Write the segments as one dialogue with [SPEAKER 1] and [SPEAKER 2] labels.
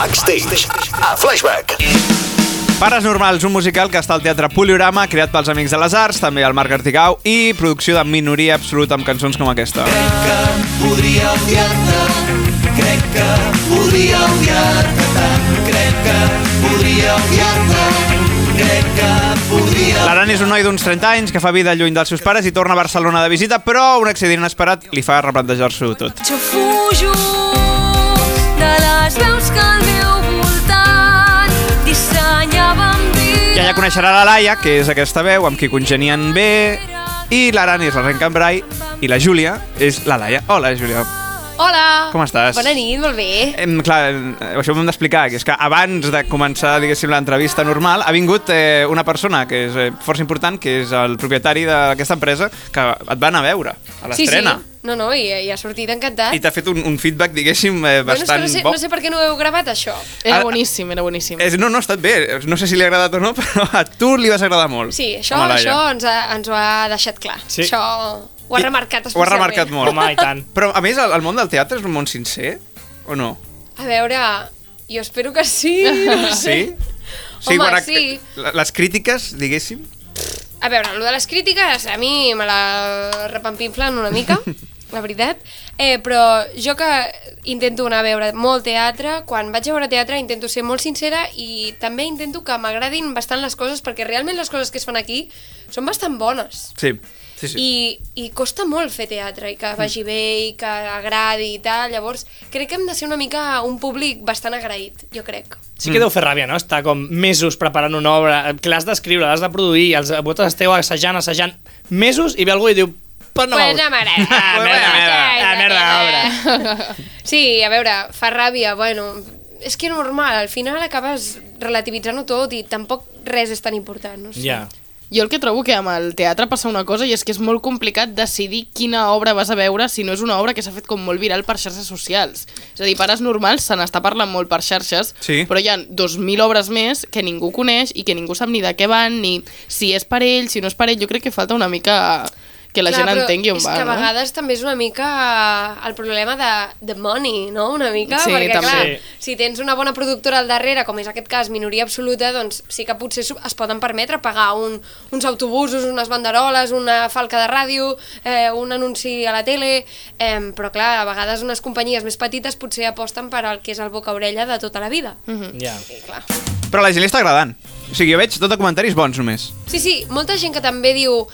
[SPEAKER 1] Backstage, a Flashback.
[SPEAKER 2] Pares Normals, un musical que està al Teatre Poliorama, creat pels Amics de les Arts, també el Marc Artigau, i producció de minoria absoluta amb cançons com aquesta.
[SPEAKER 3] podria odiar-te, crec que podria odiar-te tant, crec que podria odiar-te, crec que podria...
[SPEAKER 2] L'Aran és un noi d'uns 30 anys que fa vida lluny dels seus pares i torna a Barcelona de visita, però un accident inesperat li fa replantejar-s'ho tot.
[SPEAKER 4] Jo fujo de les veus que al meu voltant dissenyàvem
[SPEAKER 2] I allà
[SPEAKER 4] vides.
[SPEAKER 2] coneixerà la Laia, que és aquesta veu amb qui congenien bé, i l'Aran és la Ren Cambrai, i la Júlia és la Laia. Hola, Júlia.
[SPEAKER 5] Hola!
[SPEAKER 2] Com estàs?
[SPEAKER 5] Bona nit, molt bé.
[SPEAKER 2] Em, clar, em, això ho hem d'explicar, que és que abans de començar, diguéssim, l'entrevista normal, ha vingut eh, una persona que és eh, força important, que és el propietari d'aquesta empresa, que et va anar a veure a l'estrena.
[SPEAKER 5] Sí, sí. No, no, i, i ha sortit encantat.
[SPEAKER 2] I t'ha fet un, un feedback, diguéssim, eh,
[SPEAKER 5] Bueno, és que
[SPEAKER 2] bastant
[SPEAKER 5] no, sé,
[SPEAKER 2] bo.
[SPEAKER 5] no sé per què no heu gravat això.
[SPEAKER 2] Ara- Eh.
[SPEAKER 6] Era boníssim, era boníssim.
[SPEAKER 2] És, no, no, ha estat bé. No sé si li ha agradat o no, però a tu li vas agradar molt.
[SPEAKER 5] Sí, això,
[SPEAKER 2] Home, Laia.
[SPEAKER 5] això ens, ha, ens ho ha deixat clar.
[SPEAKER 7] Sí.
[SPEAKER 5] Això ho ha
[SPEAKER 2] I- Ho
[SPEAKER 5] remarcat
[SPEAKER 2] ha
[SPEAKER 5] especialment.
[SPEAKER 2] remarcat molt.
[SPEAKER 7] Home, i tant.
[SPEAKER 2] Però, a més, el, el món del teatre és un món sincer, o no?
[SPEAKER 5] A veure, jo espero que Ah, sí. no sé.
[SPEAKER 2] Sí? sí,
[SPEAKER 5] Home,
[SPEAKER 2] quan ac-
[SPEAKER 5] sí.
[SPEAKER 2] la- Les crítiques, diguéssim...
[SPEAKER 5] A veure, lo de les crítiques a mi me la repampinflen una mica, la veritat. Eh, però jo que intento anar a veure molt teatre, quan vaig a veure teatre intento ser molt sincera i també intento que m'agradin bastant les coses perquè realment les coses que es fan aquí són bastant bones.
[SPEAKER 2] Sí, sí, sí.
[SPEAKER 5] I, i costa molt fer teatre i que vagi bé i que agradi i tal, llavors crec que hem de ser una mica un públic bastant agraït, jo crec.
[SPEAKER 7] Sí que deu fer ràbia, no? Estar com mesos preparant una obra, que l'has d'escriure, l'has de produir, els vosaltres esteu assajant, assajant, mesos, i ve algú i diu... Pues no
[SPEAKER 5] Pues
[SPEAKER 7] m'ha
[SPEAKER 5] no
[SPEAKER 7] gustat".
[SPEAKER 5] m'agrada.
[SPEAKER 7] Ah, merda, merda, ah, merda d'obra.
[SPEAKER 5] Sí, a veure, fa ràbia, bueno, és que normal, al final acabes relativitzant-ho tot i tampoc res és tan important, no sé.
[SPEAKER 7] Ja.
[SPEAKER 6] Jo el que trobo que amb el teatre passa una cosa i és que és molt complicat decidir quina obra vas a veure si no és una obra que s'ha fet com molt viral per xarxes socials. És a dir, pares normals se n'està parlant molt per xarxes,
[SPEAKER 2] Sí.
[SPEAKER 6] però hi ha 2.000 obres més que ningú coneix i que ningú sap ni de què van, ni si és per ell, si no és per ell. Jo crec que falta una mica que la
[SPEAKER 5] Clar,
[SPEAKER 6] gent
[SPEAKER 5] però
[SPEAKER 6] entengui on
[SPEAKER 5] és
[SPEAKER 6] va,
[SPEAKER 5] que a
[SPEAKER 6] no?
[SPEAKER 5] vegades també és una mica el problema de the money, no? Una mica,
[SPEAKER 6] Sí,
[SPEAKER 5] perquè
[SPEAKER 6] també.
[SPEAKER 5] clar,
[SPEAKER 7] Sí.
[SPEAKER 5] si tens una bona productora al darrere, com és aquest cas, minoria absoluta, doncs sí que potser s'ho- es poden permetre pagar un, uns autobusos, unes banderoles, una falca de ràdio, eh, un anunci a la tele, eh, però clar, a vegades unes companyies més petites potser aposten per al que és el boca-orella de tota la vida. Mm
[SPEAKER 7] Ja.
[SPEAKER 5] -hmm. clar.
[SPEAKER 2] Però a la gent li està agradant. O sigui, jo veig tot de comentaris bons només.
[SPEAKER 5] Sí, sí, molta gent que també diu um,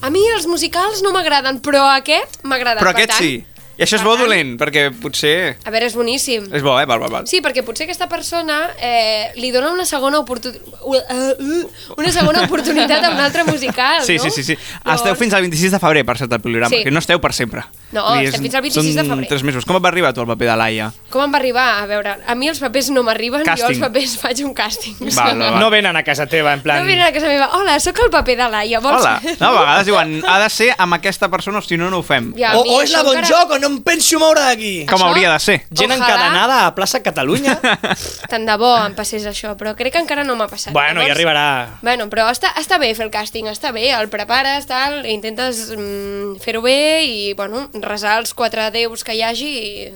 [SPEAKER 5] a mi els musicals no m'agraden, però aquest m'agrada.
[SPEAKER 2] Però
[SPEAKER 5] Per
[SPEAKER 2] aquest
[SPEAKER 5] tant,
[SPEAKER 2] sí. I això és
[SPEAKER 5] per
[SPEAKER 2] bo
[SPEAKER 5] tant-
[SPEAKER 2] dolent, perquè potser...
[SPEAKER 5] A veure, és boníssim.
[SPEAKER 2] És bo, eh? Val, val, val.
[SPEAKER 5] Sí, perquè potser aquesta persona eh, li dona una segona oportunitat una segona oportunitat a un altre musical,
[SPEAKER 2] Sí,
[SPEAKER 5] no?
[SPEAKER 2] sí, sí, sí. Esteu fins al 26 de febrer per certa programa,
[SPEAKER 5] Sí.
[SPEAKER 2] que no esteu per sempre.
[SPEAKER 5] No,
[SPEAKER 2] Vull dir,
[SPEAKER 5] estem
[SPEAKER 2] és-
[SPEAKER 5] fins al 26 de
[SPEAKER 2] són
[SPEAKER 5] febrer.
[SPEAKER 2] tres mesos. Com et va arribar a tu el paper de Laia?
[SPEAKER 5] Com em va arribar? A veure, a mi els papers no m'arriben, jo
[SPEAKER 2] Càsting.
[SPEAKER 5] els papers faig un càsting.
[SPEAKER 2] Val, val, val.
[SPEAKER 7] No venen a casa teva, en plan...
[SPEAKER 5] No vine a casa meva, hola, sóc el paper de Laia, vols...
[SPEAKER 2] Hola. No, a vegades diuen, ha de ser amb aquesta persona, o si no, no ho fem.
[SPEAKER 5] Ja, a
[SPEAKER 7] O,
[SPEAKER 5] mi
[SPEAKER 7] o és
[SPEAKER 5] això
[SPEAKER 7] la bon
[SPEAKER 5] encara-
[SPEAKER 7] joc, o no em penso moure d'aquí.
[SPEAKER 2] Com
[SPEAKER 5] Això-
[SPEAKER 2] hauria de ser.
[SPEAKER 7] Gent
[SPEAKER 5] Ojalà.
[SPEAKER 7] encadenada a plaça Catalunya.
[SPEAKER 5] Tant de bo em passés això, però crec que encara no m'ha passat.
[SPEAKER 7] bueno, ja
[SPEAKER 5] Llavors-
[SPEAKER 7] arribarà.
[SPEAKER 5] Bueno, però està, està bé fer el càsting, està bé, el prepares, tal, intentes mm, fer-ho bé i, bueno, resar els quatre déus que hi hagi i...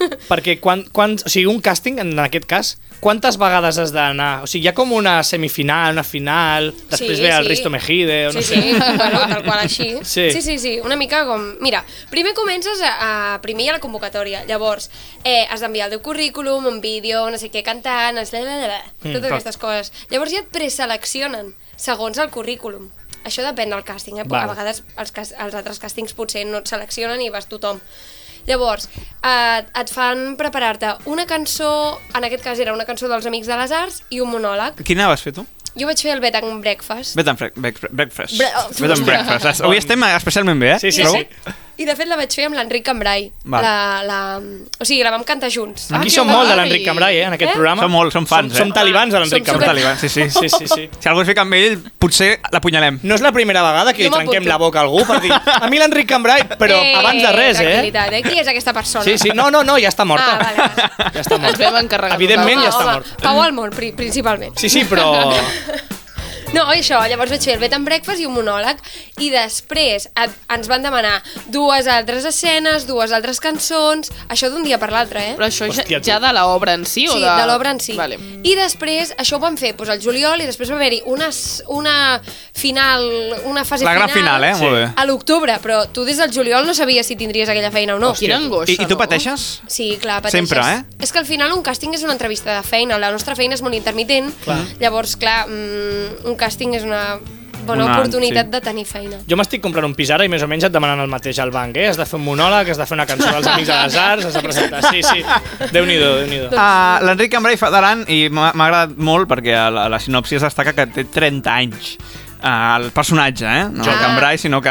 [SPEAKER 7] Perquè quan, quan, o sigui, un càsting, en aquest cas, quantes vegades has d'anar? O sigui, hi ha com una semifinal, una final, després
[SPEAKER 5] Sí,
[SPEAKER 7] ve el
[SPEAKER 5] sí.
[SPEAKER 7] Risto Mejide, o no
[SPEAKER 5] sí,
[SPEAKER 7] sé.
[SPEAKER 5] Sí, bueno, tal qual així.
[SPEAKER 7] Sí.
[SPEAKER 5] sí, sí, sí, una mica com... Mira, primer comences a, a primer hi ha la convocatòria, llavors eh, has d'enviar el teu currículum, un vídeo, no sé què, cantant, es... la, la, la, la, totes
[SPEAKER 7] Mm, clar.
[SPEAKER 5] aquestes coses. Llavors ja et preseleccionen segons el currículum. Això depèn del càsting, eh?
[SPEAKER 7] Val.
[SPEAKER 5] a vegades els, cas- els altres càstings potser no et seleccionen i vas tothom. Llavors, eh, et fan preparar-te una cançó, en aquest cas era una cançó dels Amics de les Arts, i un monòleg.
[SPEAKER 2] Quina vas fer tu?
[SPEAKER 5] Jo vaig fer el Bet and Breakfast.
[SPEAKER 2] Bed and fre- bre- breakfast.
[SPEAKER 5] Bre- oh,
[SPEAKER 2] Bed and breakfast. Avui estem especialment bé, eh?
[SPEAKER 7] Sí, sí,
[SPEAKER 2] Trobo?
[SPEAKER 7] sí.
[SPEAKER 5] I de fet la vaig fer amb l'Enric Cambrai.
[SPEAKER 2] Val.
[SPEAKER 5] La, la, o sigui, la vam cantar junts.
[SPEAKER 7] Aquí
[SPEAKER 6] que
[SPEAKER 7] som molt de
[SPEAKER 6] guai.
[SPEAKER 7] l'Enric Cambrai, eh, en
[SPEAKER 5] Eh?
[SPEAKER 7] aquest programa.
[SPEAKER 2] Som molt, som fans,
[SPEAKER 7] som, Som
[SPEAKER 2] eh?
[SPEAKER 7] talibans de
[SPEAKER 5] Som
[SPEAKER 7] l'Enric
[SPEAKER 5] super-
[SPEAKER 7] Cambrai.
[SPEAKER 2] talibans, sí, sí.
[SPEAKER 7] Sí, sí, sí.
[SPEAKER 2] Si algú es fica amb ell, potser l'apunyalem.
[SPEAKER 7] No és la primera vegada que
[SPEAKER 5] Jo
[SPEAKER 7] li
[SPEAKER 5] m'apunto.
[SPEAKER 7] trenquem
[SPEAKER 5] Eh,
[SPEAKER 7] la boca a algú per dir a mi l'Enric Cambrai, però abans de res, eh?
[SPEAKER 5] Tranquil·litat, eh? Qui és aquesta persona?
[SPEAKER 7] Sí, sí, no, no, no, ja està morta.
[SPEAKER 5] Ah, vale, vale.
[SPEAKER 7] Ja està
[SPEAKER 6] Ens
[SPEAKER 7] morta.
[SPEAKER 6] vam encarregar
[SPEAKER 7] Evidentment
[SPEAKER 5] Home,
[SPEAKER 7] ja està
[SPEAKER 5] home,
[SPEAKER 7] mort.
[SPEAKER 5] Pau Almont, pri principalment.
[SPEAKER 7] Sí, sí, però...
[SPEAKER 5] No, i això, llavors vaig fer el bed and breakfast i un monòleg i després et, ens van demanar dues altres escenes, dues altres cançons, això d'un dia per l'altre, eh?
[SPEAKER 6] Però això
[SPEAKER 7] Hòstia,
[SPEAKER 6] Hòstia,
[SPEAKER 7] tu.
[SPEAKER 6] ja, ja de l'obra en si? o
[SPEAKER 5] Sí,
[SPEAKER 6] de,
[SPEAKER 5] de l'obra en si.
[SPEAKER 6] Vale.
[SPEAKER 5] I després, això ho van fer doncs, el juliol i després va haver-hi una, s- una final, una fase
[SPEAKER 2] La gran final, eh?
[SPEAKER 7] Sí.
[SPEAKER 2] Molt bé.
[SPEAKER 5] A l'octubre, però tu des del juliol no sabies si tindries aquella feina o no.
[SPEAKER 6] Quina angoixa,
[SPEAKER 2] I, I tu
[SPEAKER 6] no?
[SPEAKER 2] pateixes?
[SPEAKER 5] Sí, clar, pateixes.
[SPEAKER 2] Sempre, eh?
[SPEAKER 5] És que al final un càsting és una entrevista de feina, la nostra feina és molt intermitent, clar. llavors, clar, mm, un càsting és una bona
[SPEAKER 2] Una-
[SPEAKER 5] una,
[SPEAKER 2] sí.
[SPEAKER 5] oportunitat sí. de tenir feina.
[SPEAKER 7] Jo m'estic comprant un pis ara i més o menys et demanen el mateix al banc, eh? Has de fer un monòleg, has de fer una cançó dels Amics de les Arts, has de presentar... Sí, sí, déu-n'hi-do, déu nhi déu
[SPEAKER 2] Uh, L'Enric Cambrai fa d'Aran i m'ha m'ha agradat molt perquè a la, a la sinopsi es destaca que té 30 anys uh, el personatge, eh? No
[SPEAKER 5] Ah.
[SPEAKER 2] el Cambrai, sinó que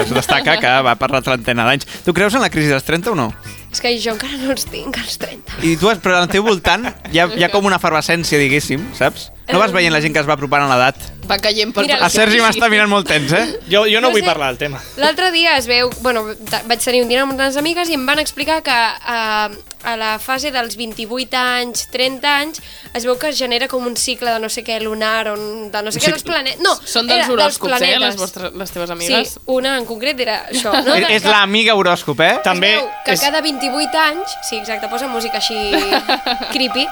[SPEAKER 2] es destaca que va per la trentena d'anys. Tu creus en la crisi dels 30 o no?
[SPEAKER 5] És que jo encara no els tinc, als 30.
[SPEAKER 2] I tu, has- però al teu voltant hi ha, hi ha com una efervescència, diguéssim, saps? No vas veient la gent que es va apropant a l'edat?
[SPEAKER 6] Va caient per...
[SPEAKER 5] Mira,
[SPEAKER 2] El Sergi m'està mirant molt tens, eh?
[SPEAKER 7] Jo, jo no,
[SPEAKER 5] No
[SPEAKER 7] vull
[SPEAKER 5] sé.
[SPEAKER 7] parlar del tema.
[SPEAKER 5] L'altre dia es veu... Bueno, ta- vaig tenir un dinar amb unes amigues i em van explicar que a, a la fase dels 28 anys, 30 anys, es veu que es genera com un cicle de no sé què lunar, on, de no sé
[SPEAKER 2] Sí.
[SPEAKER 5] què dels planetes... No,
[SPEAKER 6] Són
[SPEAKER 5] era
[SPEAKER 6] dels horòscops, eh,
[SPEAKER 5] planetes.
[SPEAKER 6] les, vostres, les teves amigues?
[SPEAKER 5] Sí, una en concret era això. No?
[SPEAKER 2] És, és l'amiga horòscop, eh?
[SPEAKER 7] Tam-
[SPEAKER 5] També
[SPEAKER 7] També
[SPEAKER 5] veu que
[SPEAKER 7] és-
[SPEAKER 5] és... cada 28 anys, sí, exacte, posa música així creepy,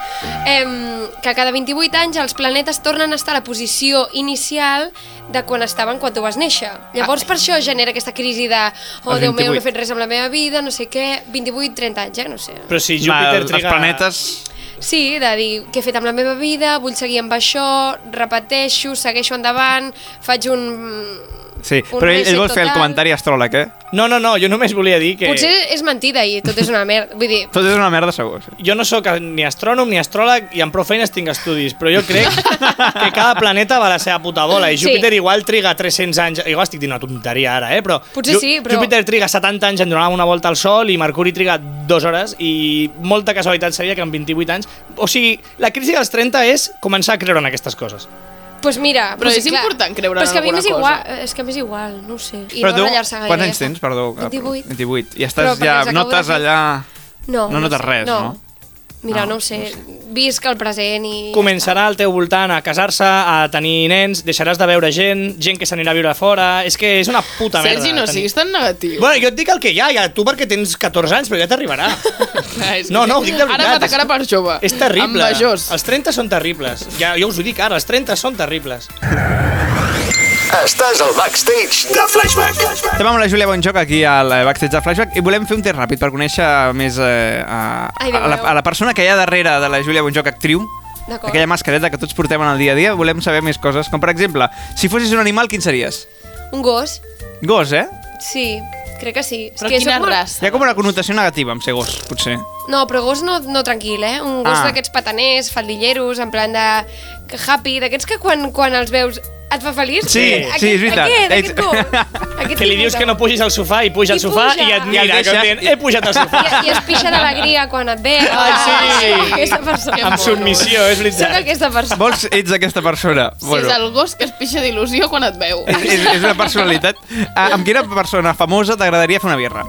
[SPEAKER 5] em, que cada 28 anys els planetes tornen a estar a la posició inicial de quan estaven quan tu vas néixer. Llavors per això genera aquesta crisi de oh,
[SPEAKER 2] Els
[SPEAKER 5] Déu meu, no
[SPEAKER 2] 28.
[SPEAKER 5] he fet res amb la meva vida, no sé què, 28, 30 anys, eh, no sé.
[SPEAKER 7] Però si
[SPEAKER 2] Va,
[SPEAKER 7] Júpiter
[SPEAKER 2] els
[SPEAKER 7] triga...
[SPEAKER 2] planetes...
[SPEAKER 5] Sí, de dir, què he fet amb la meva vida, vull seguir amb això, repeteixo, segueixo endavant, faig un...
[SPEAKER 2] Sí,
[SPEAKER 5] un
[SPEAKER 2] però ell, ell
[SPEAKER 5] reset
[SPEAKER 2] vol fer el
[SPEAKER 5] total.
[SPEAKER 2] comentari astròleg, eh?
[SPEAKER 7] No, no, no, jo només volia dir que...
[SPEAKER 5] Potser és mentida i tot és una merda, vull dir,
[SPEAKER 2] Tot és una merda, segur. sí.
[SPEAKER 7] Jo no sóc ni astrònom ni astròleg i amb prou feines tinc estudis, però jo crec que cada planeta va a la seva puta bola i
[SPEAKER 5] Sí.
[SPEAKER 7] Júpiter igual triga 300 anys... Igual estic dient una tonteria ara, eh? Però
[SPEAKER 5] Potser
[SPEAKER 7] Ju-
[SPEAKER 5] sí, però-
[SPEAKER 7] Júpiter triga 70 anys en donar una volta al Sol i Mercuri triga dues hores i molta casualitat seria que en 28 anys... O sigui, la crisi dels 30 és començar a creure en aquestes coses.
[SPEAKER 5] Pues mira,
[SPEAKER 6] Però
[SPEAKER 5] o sigui,
[SPEAKER 6] és important creure
[SPEAKER 5] però és
[SPEAKER 6] en
[SPEAKER 5] que a mi
[SPEAKER 6] alguna
[SPEAKER 5] m'és
[SPEAKER 6] cosa.
[SPEAKER 5] igual, és que m'és igual, no ho sé. I
[SPEAKER 2] Però
[SPEAKER 5] no
[SPEAKER 2] tu,
[SPEAKER 5] ratllar-se gaire.
[SPEAKER 2] quants
[SPEAKER 5] ja
[SPEAKER 2] anys
[SPEAKER 5] està.
[SPEAKER 2] tens, perdó?
[SPEAKER 5] 28.
[SPEAKER 2] 28. I
[SPEAKER 5] Però
[SPEAKER 2] estàs
[SPEAKER 5] perquè
[SPEAKER 2] ja,
[SPEAKER 5] els acabo
[SPEAKER 2] notes
[SPEAKER 5] de fer.
[SPEAKER 2] allà...
[SPEAKER 5] No,
[SPEAKER 2] no notes
[SPEAKER 5] sé,
[SPEAKER 2] res, no?
[SPEAKER 5] Mira,
[SPEAKER 2] No,
[SPEAKER 5] no, ho sé, visc el present i...
[SPEAKER 7] Començarà al teu voltant a casar-se, a tenir nens, deixaràs de veure gent, gent que s'anirà a viure a fora... És que és una puta merda.
[SPEAKER 6] Sergi, no
[SPEAKER 7] tenir-
[SPEAKER 6] siguis tan negatiu.
[SPEAKER 7] Bueno, jo et dic el que hi ha, ja, tu perquè tens 14 anys, però ja t'arribarà.
[SPEAKER 6] Clar, Ah, és que
[SPEAKER 7] No, no, ho dic de veritat.
[SPEAKER 6] Ara m'atacarà per jove.
[SPEAKER 7] És terrible.
[SPEAKER 6] Envejós.
[SPEAKER 7] Els 30 són terribles. Ja, jo us ho dic ara, els 30 són terribles.
[SPEAKER 1] Estàs al backstage de Flashback.
[SPEAKER 2] Estem amb la Júlia Bonjoc aquí al eh, Backstage de Flashback i volem fer un test ràpid per conèixer més eh, a,
[SPEAKER 5] Ai, Déu
[SPEAKER 2] a, la,
[SPEAKER 5] meu.
[SPEAKER 2] a la persona que hi ha darrere de la Júlia Bonjoc, actriu,
[SPEAKER 5] D'acord.
[SPEAKER 2] aquella mascareta que tots portem en el dia a dia, volem saber més coses, com per exemple, si fossis un animal, quin series?
[SPEAKER 5] Un gos,
[SPEAKER 2] Gos, eh?
[SPEAKER 5] sí, crec que sí. És
[SPEAKER 6] Però
[SPEAKER 5] que
[SPEAKER 6] quina
[SPEAKER 5] soc molt-
[SPEAKER 6] raça.
[SPEAKER 2] Hi ha com una connotació negativa amb ser gos, potser.
[SPEAKER 5] No, però gos no, no tranquil, eh? Un gos
[SPEAKER 2] Ah.
[SPEAKER 5] d'aquests pataners, faldilleros, en plan de que happy, d'aquests que quan, quan els veus et fa feliç.
[SPEAKER 2] Sí,
[SPEAKER 5] Aquest-
[SPEAKER 2] sí, és veritat.
[SPEAKER 5] Aquest,
[SPEAKER 2] Ells-
[SPEAKER 5] aquest gos. Aquest
[SPEAKER 7] Que li
[SPEAKER 5] tipus
[SPEAKER 7] dius
[SPEAKER 5] de-
[SPEAKER 7] que no pugis al sofà i
[SPEAKER 5] I
[SPEAKER 7] puja al sofà
[SPEAKER 5] puja.
[SPEAKER 7] i et
[SPEAKER 2] I el
[SPEAKER 7] mira,
[SPEAKER 2] deixa-
[SPEAKER 7] com dient, he pujat al sofà.
[SPEAKER 5] I, i es pixa d'alegria quan et ve. Ah,
[SPEAKER 7] sí.
[SPEAKER 5] Aquesta persona.
[SPEAKER 7] Amb submissió, és
[SPEAKER 5] Soc
[SPEAKER 7] veritat.
[SPEAKER 5] aquesta persona.
[SPEAKER 2] Vols, ets aquesta persona.
[SPEAKER 6] Si és el gos que es pixa d'il·lusió quan et veu.
[SPEAKER 2] és, és, és una personalitat. Ah, amb quina persona famosa t'agradaria fer una birra?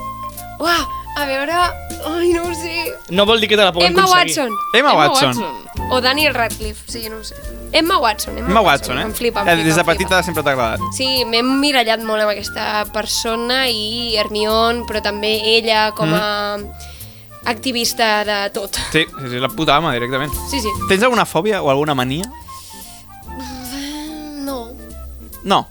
[SPEAKER 5] Uah, a veure... Ai, no ho sé.
[SPEAKER 7] No vol dir que te la puguem
[SPEAKER 5] Emma
[SPEAKER 7] aconseguir.
[SPEAKER 5] Watson.
[SPEAKER 2] Emma,
[SPEAKER 6] Emma
[SPEAKER 2] Watson.
[SPEAKER 5] O Daniel Radcliffe, sí, no ho sé. Emma Watson.
[SPEAKER 2] Emma Watson, eh?
[SPEAKER 5] Em flipa,
[SPEAKER 2] Eh,
[SPEAKER 5] em flipa.
[SPEAKER 2] Des de
[SPEAKER 5] em flipa.
[SPEAKER 2] petita sempre t'ha agradat.
[SPEAKER 5] Sí, m'he mirallat molt amb aquesta persona i Hermione, però també ella com a
[SPEAKER 2] Mm-hmm.
[SPEAKER 5] activista de tot.
[SPEAKER 2] Sí, sí, sí, la puta ama, directament.
[SPEAKER 5] Sí, sí.
[SPEAKER 2] Tens alguna fòbia o alguna mania?
[SPEAKER 5] No.
[SPEAKER 2] No,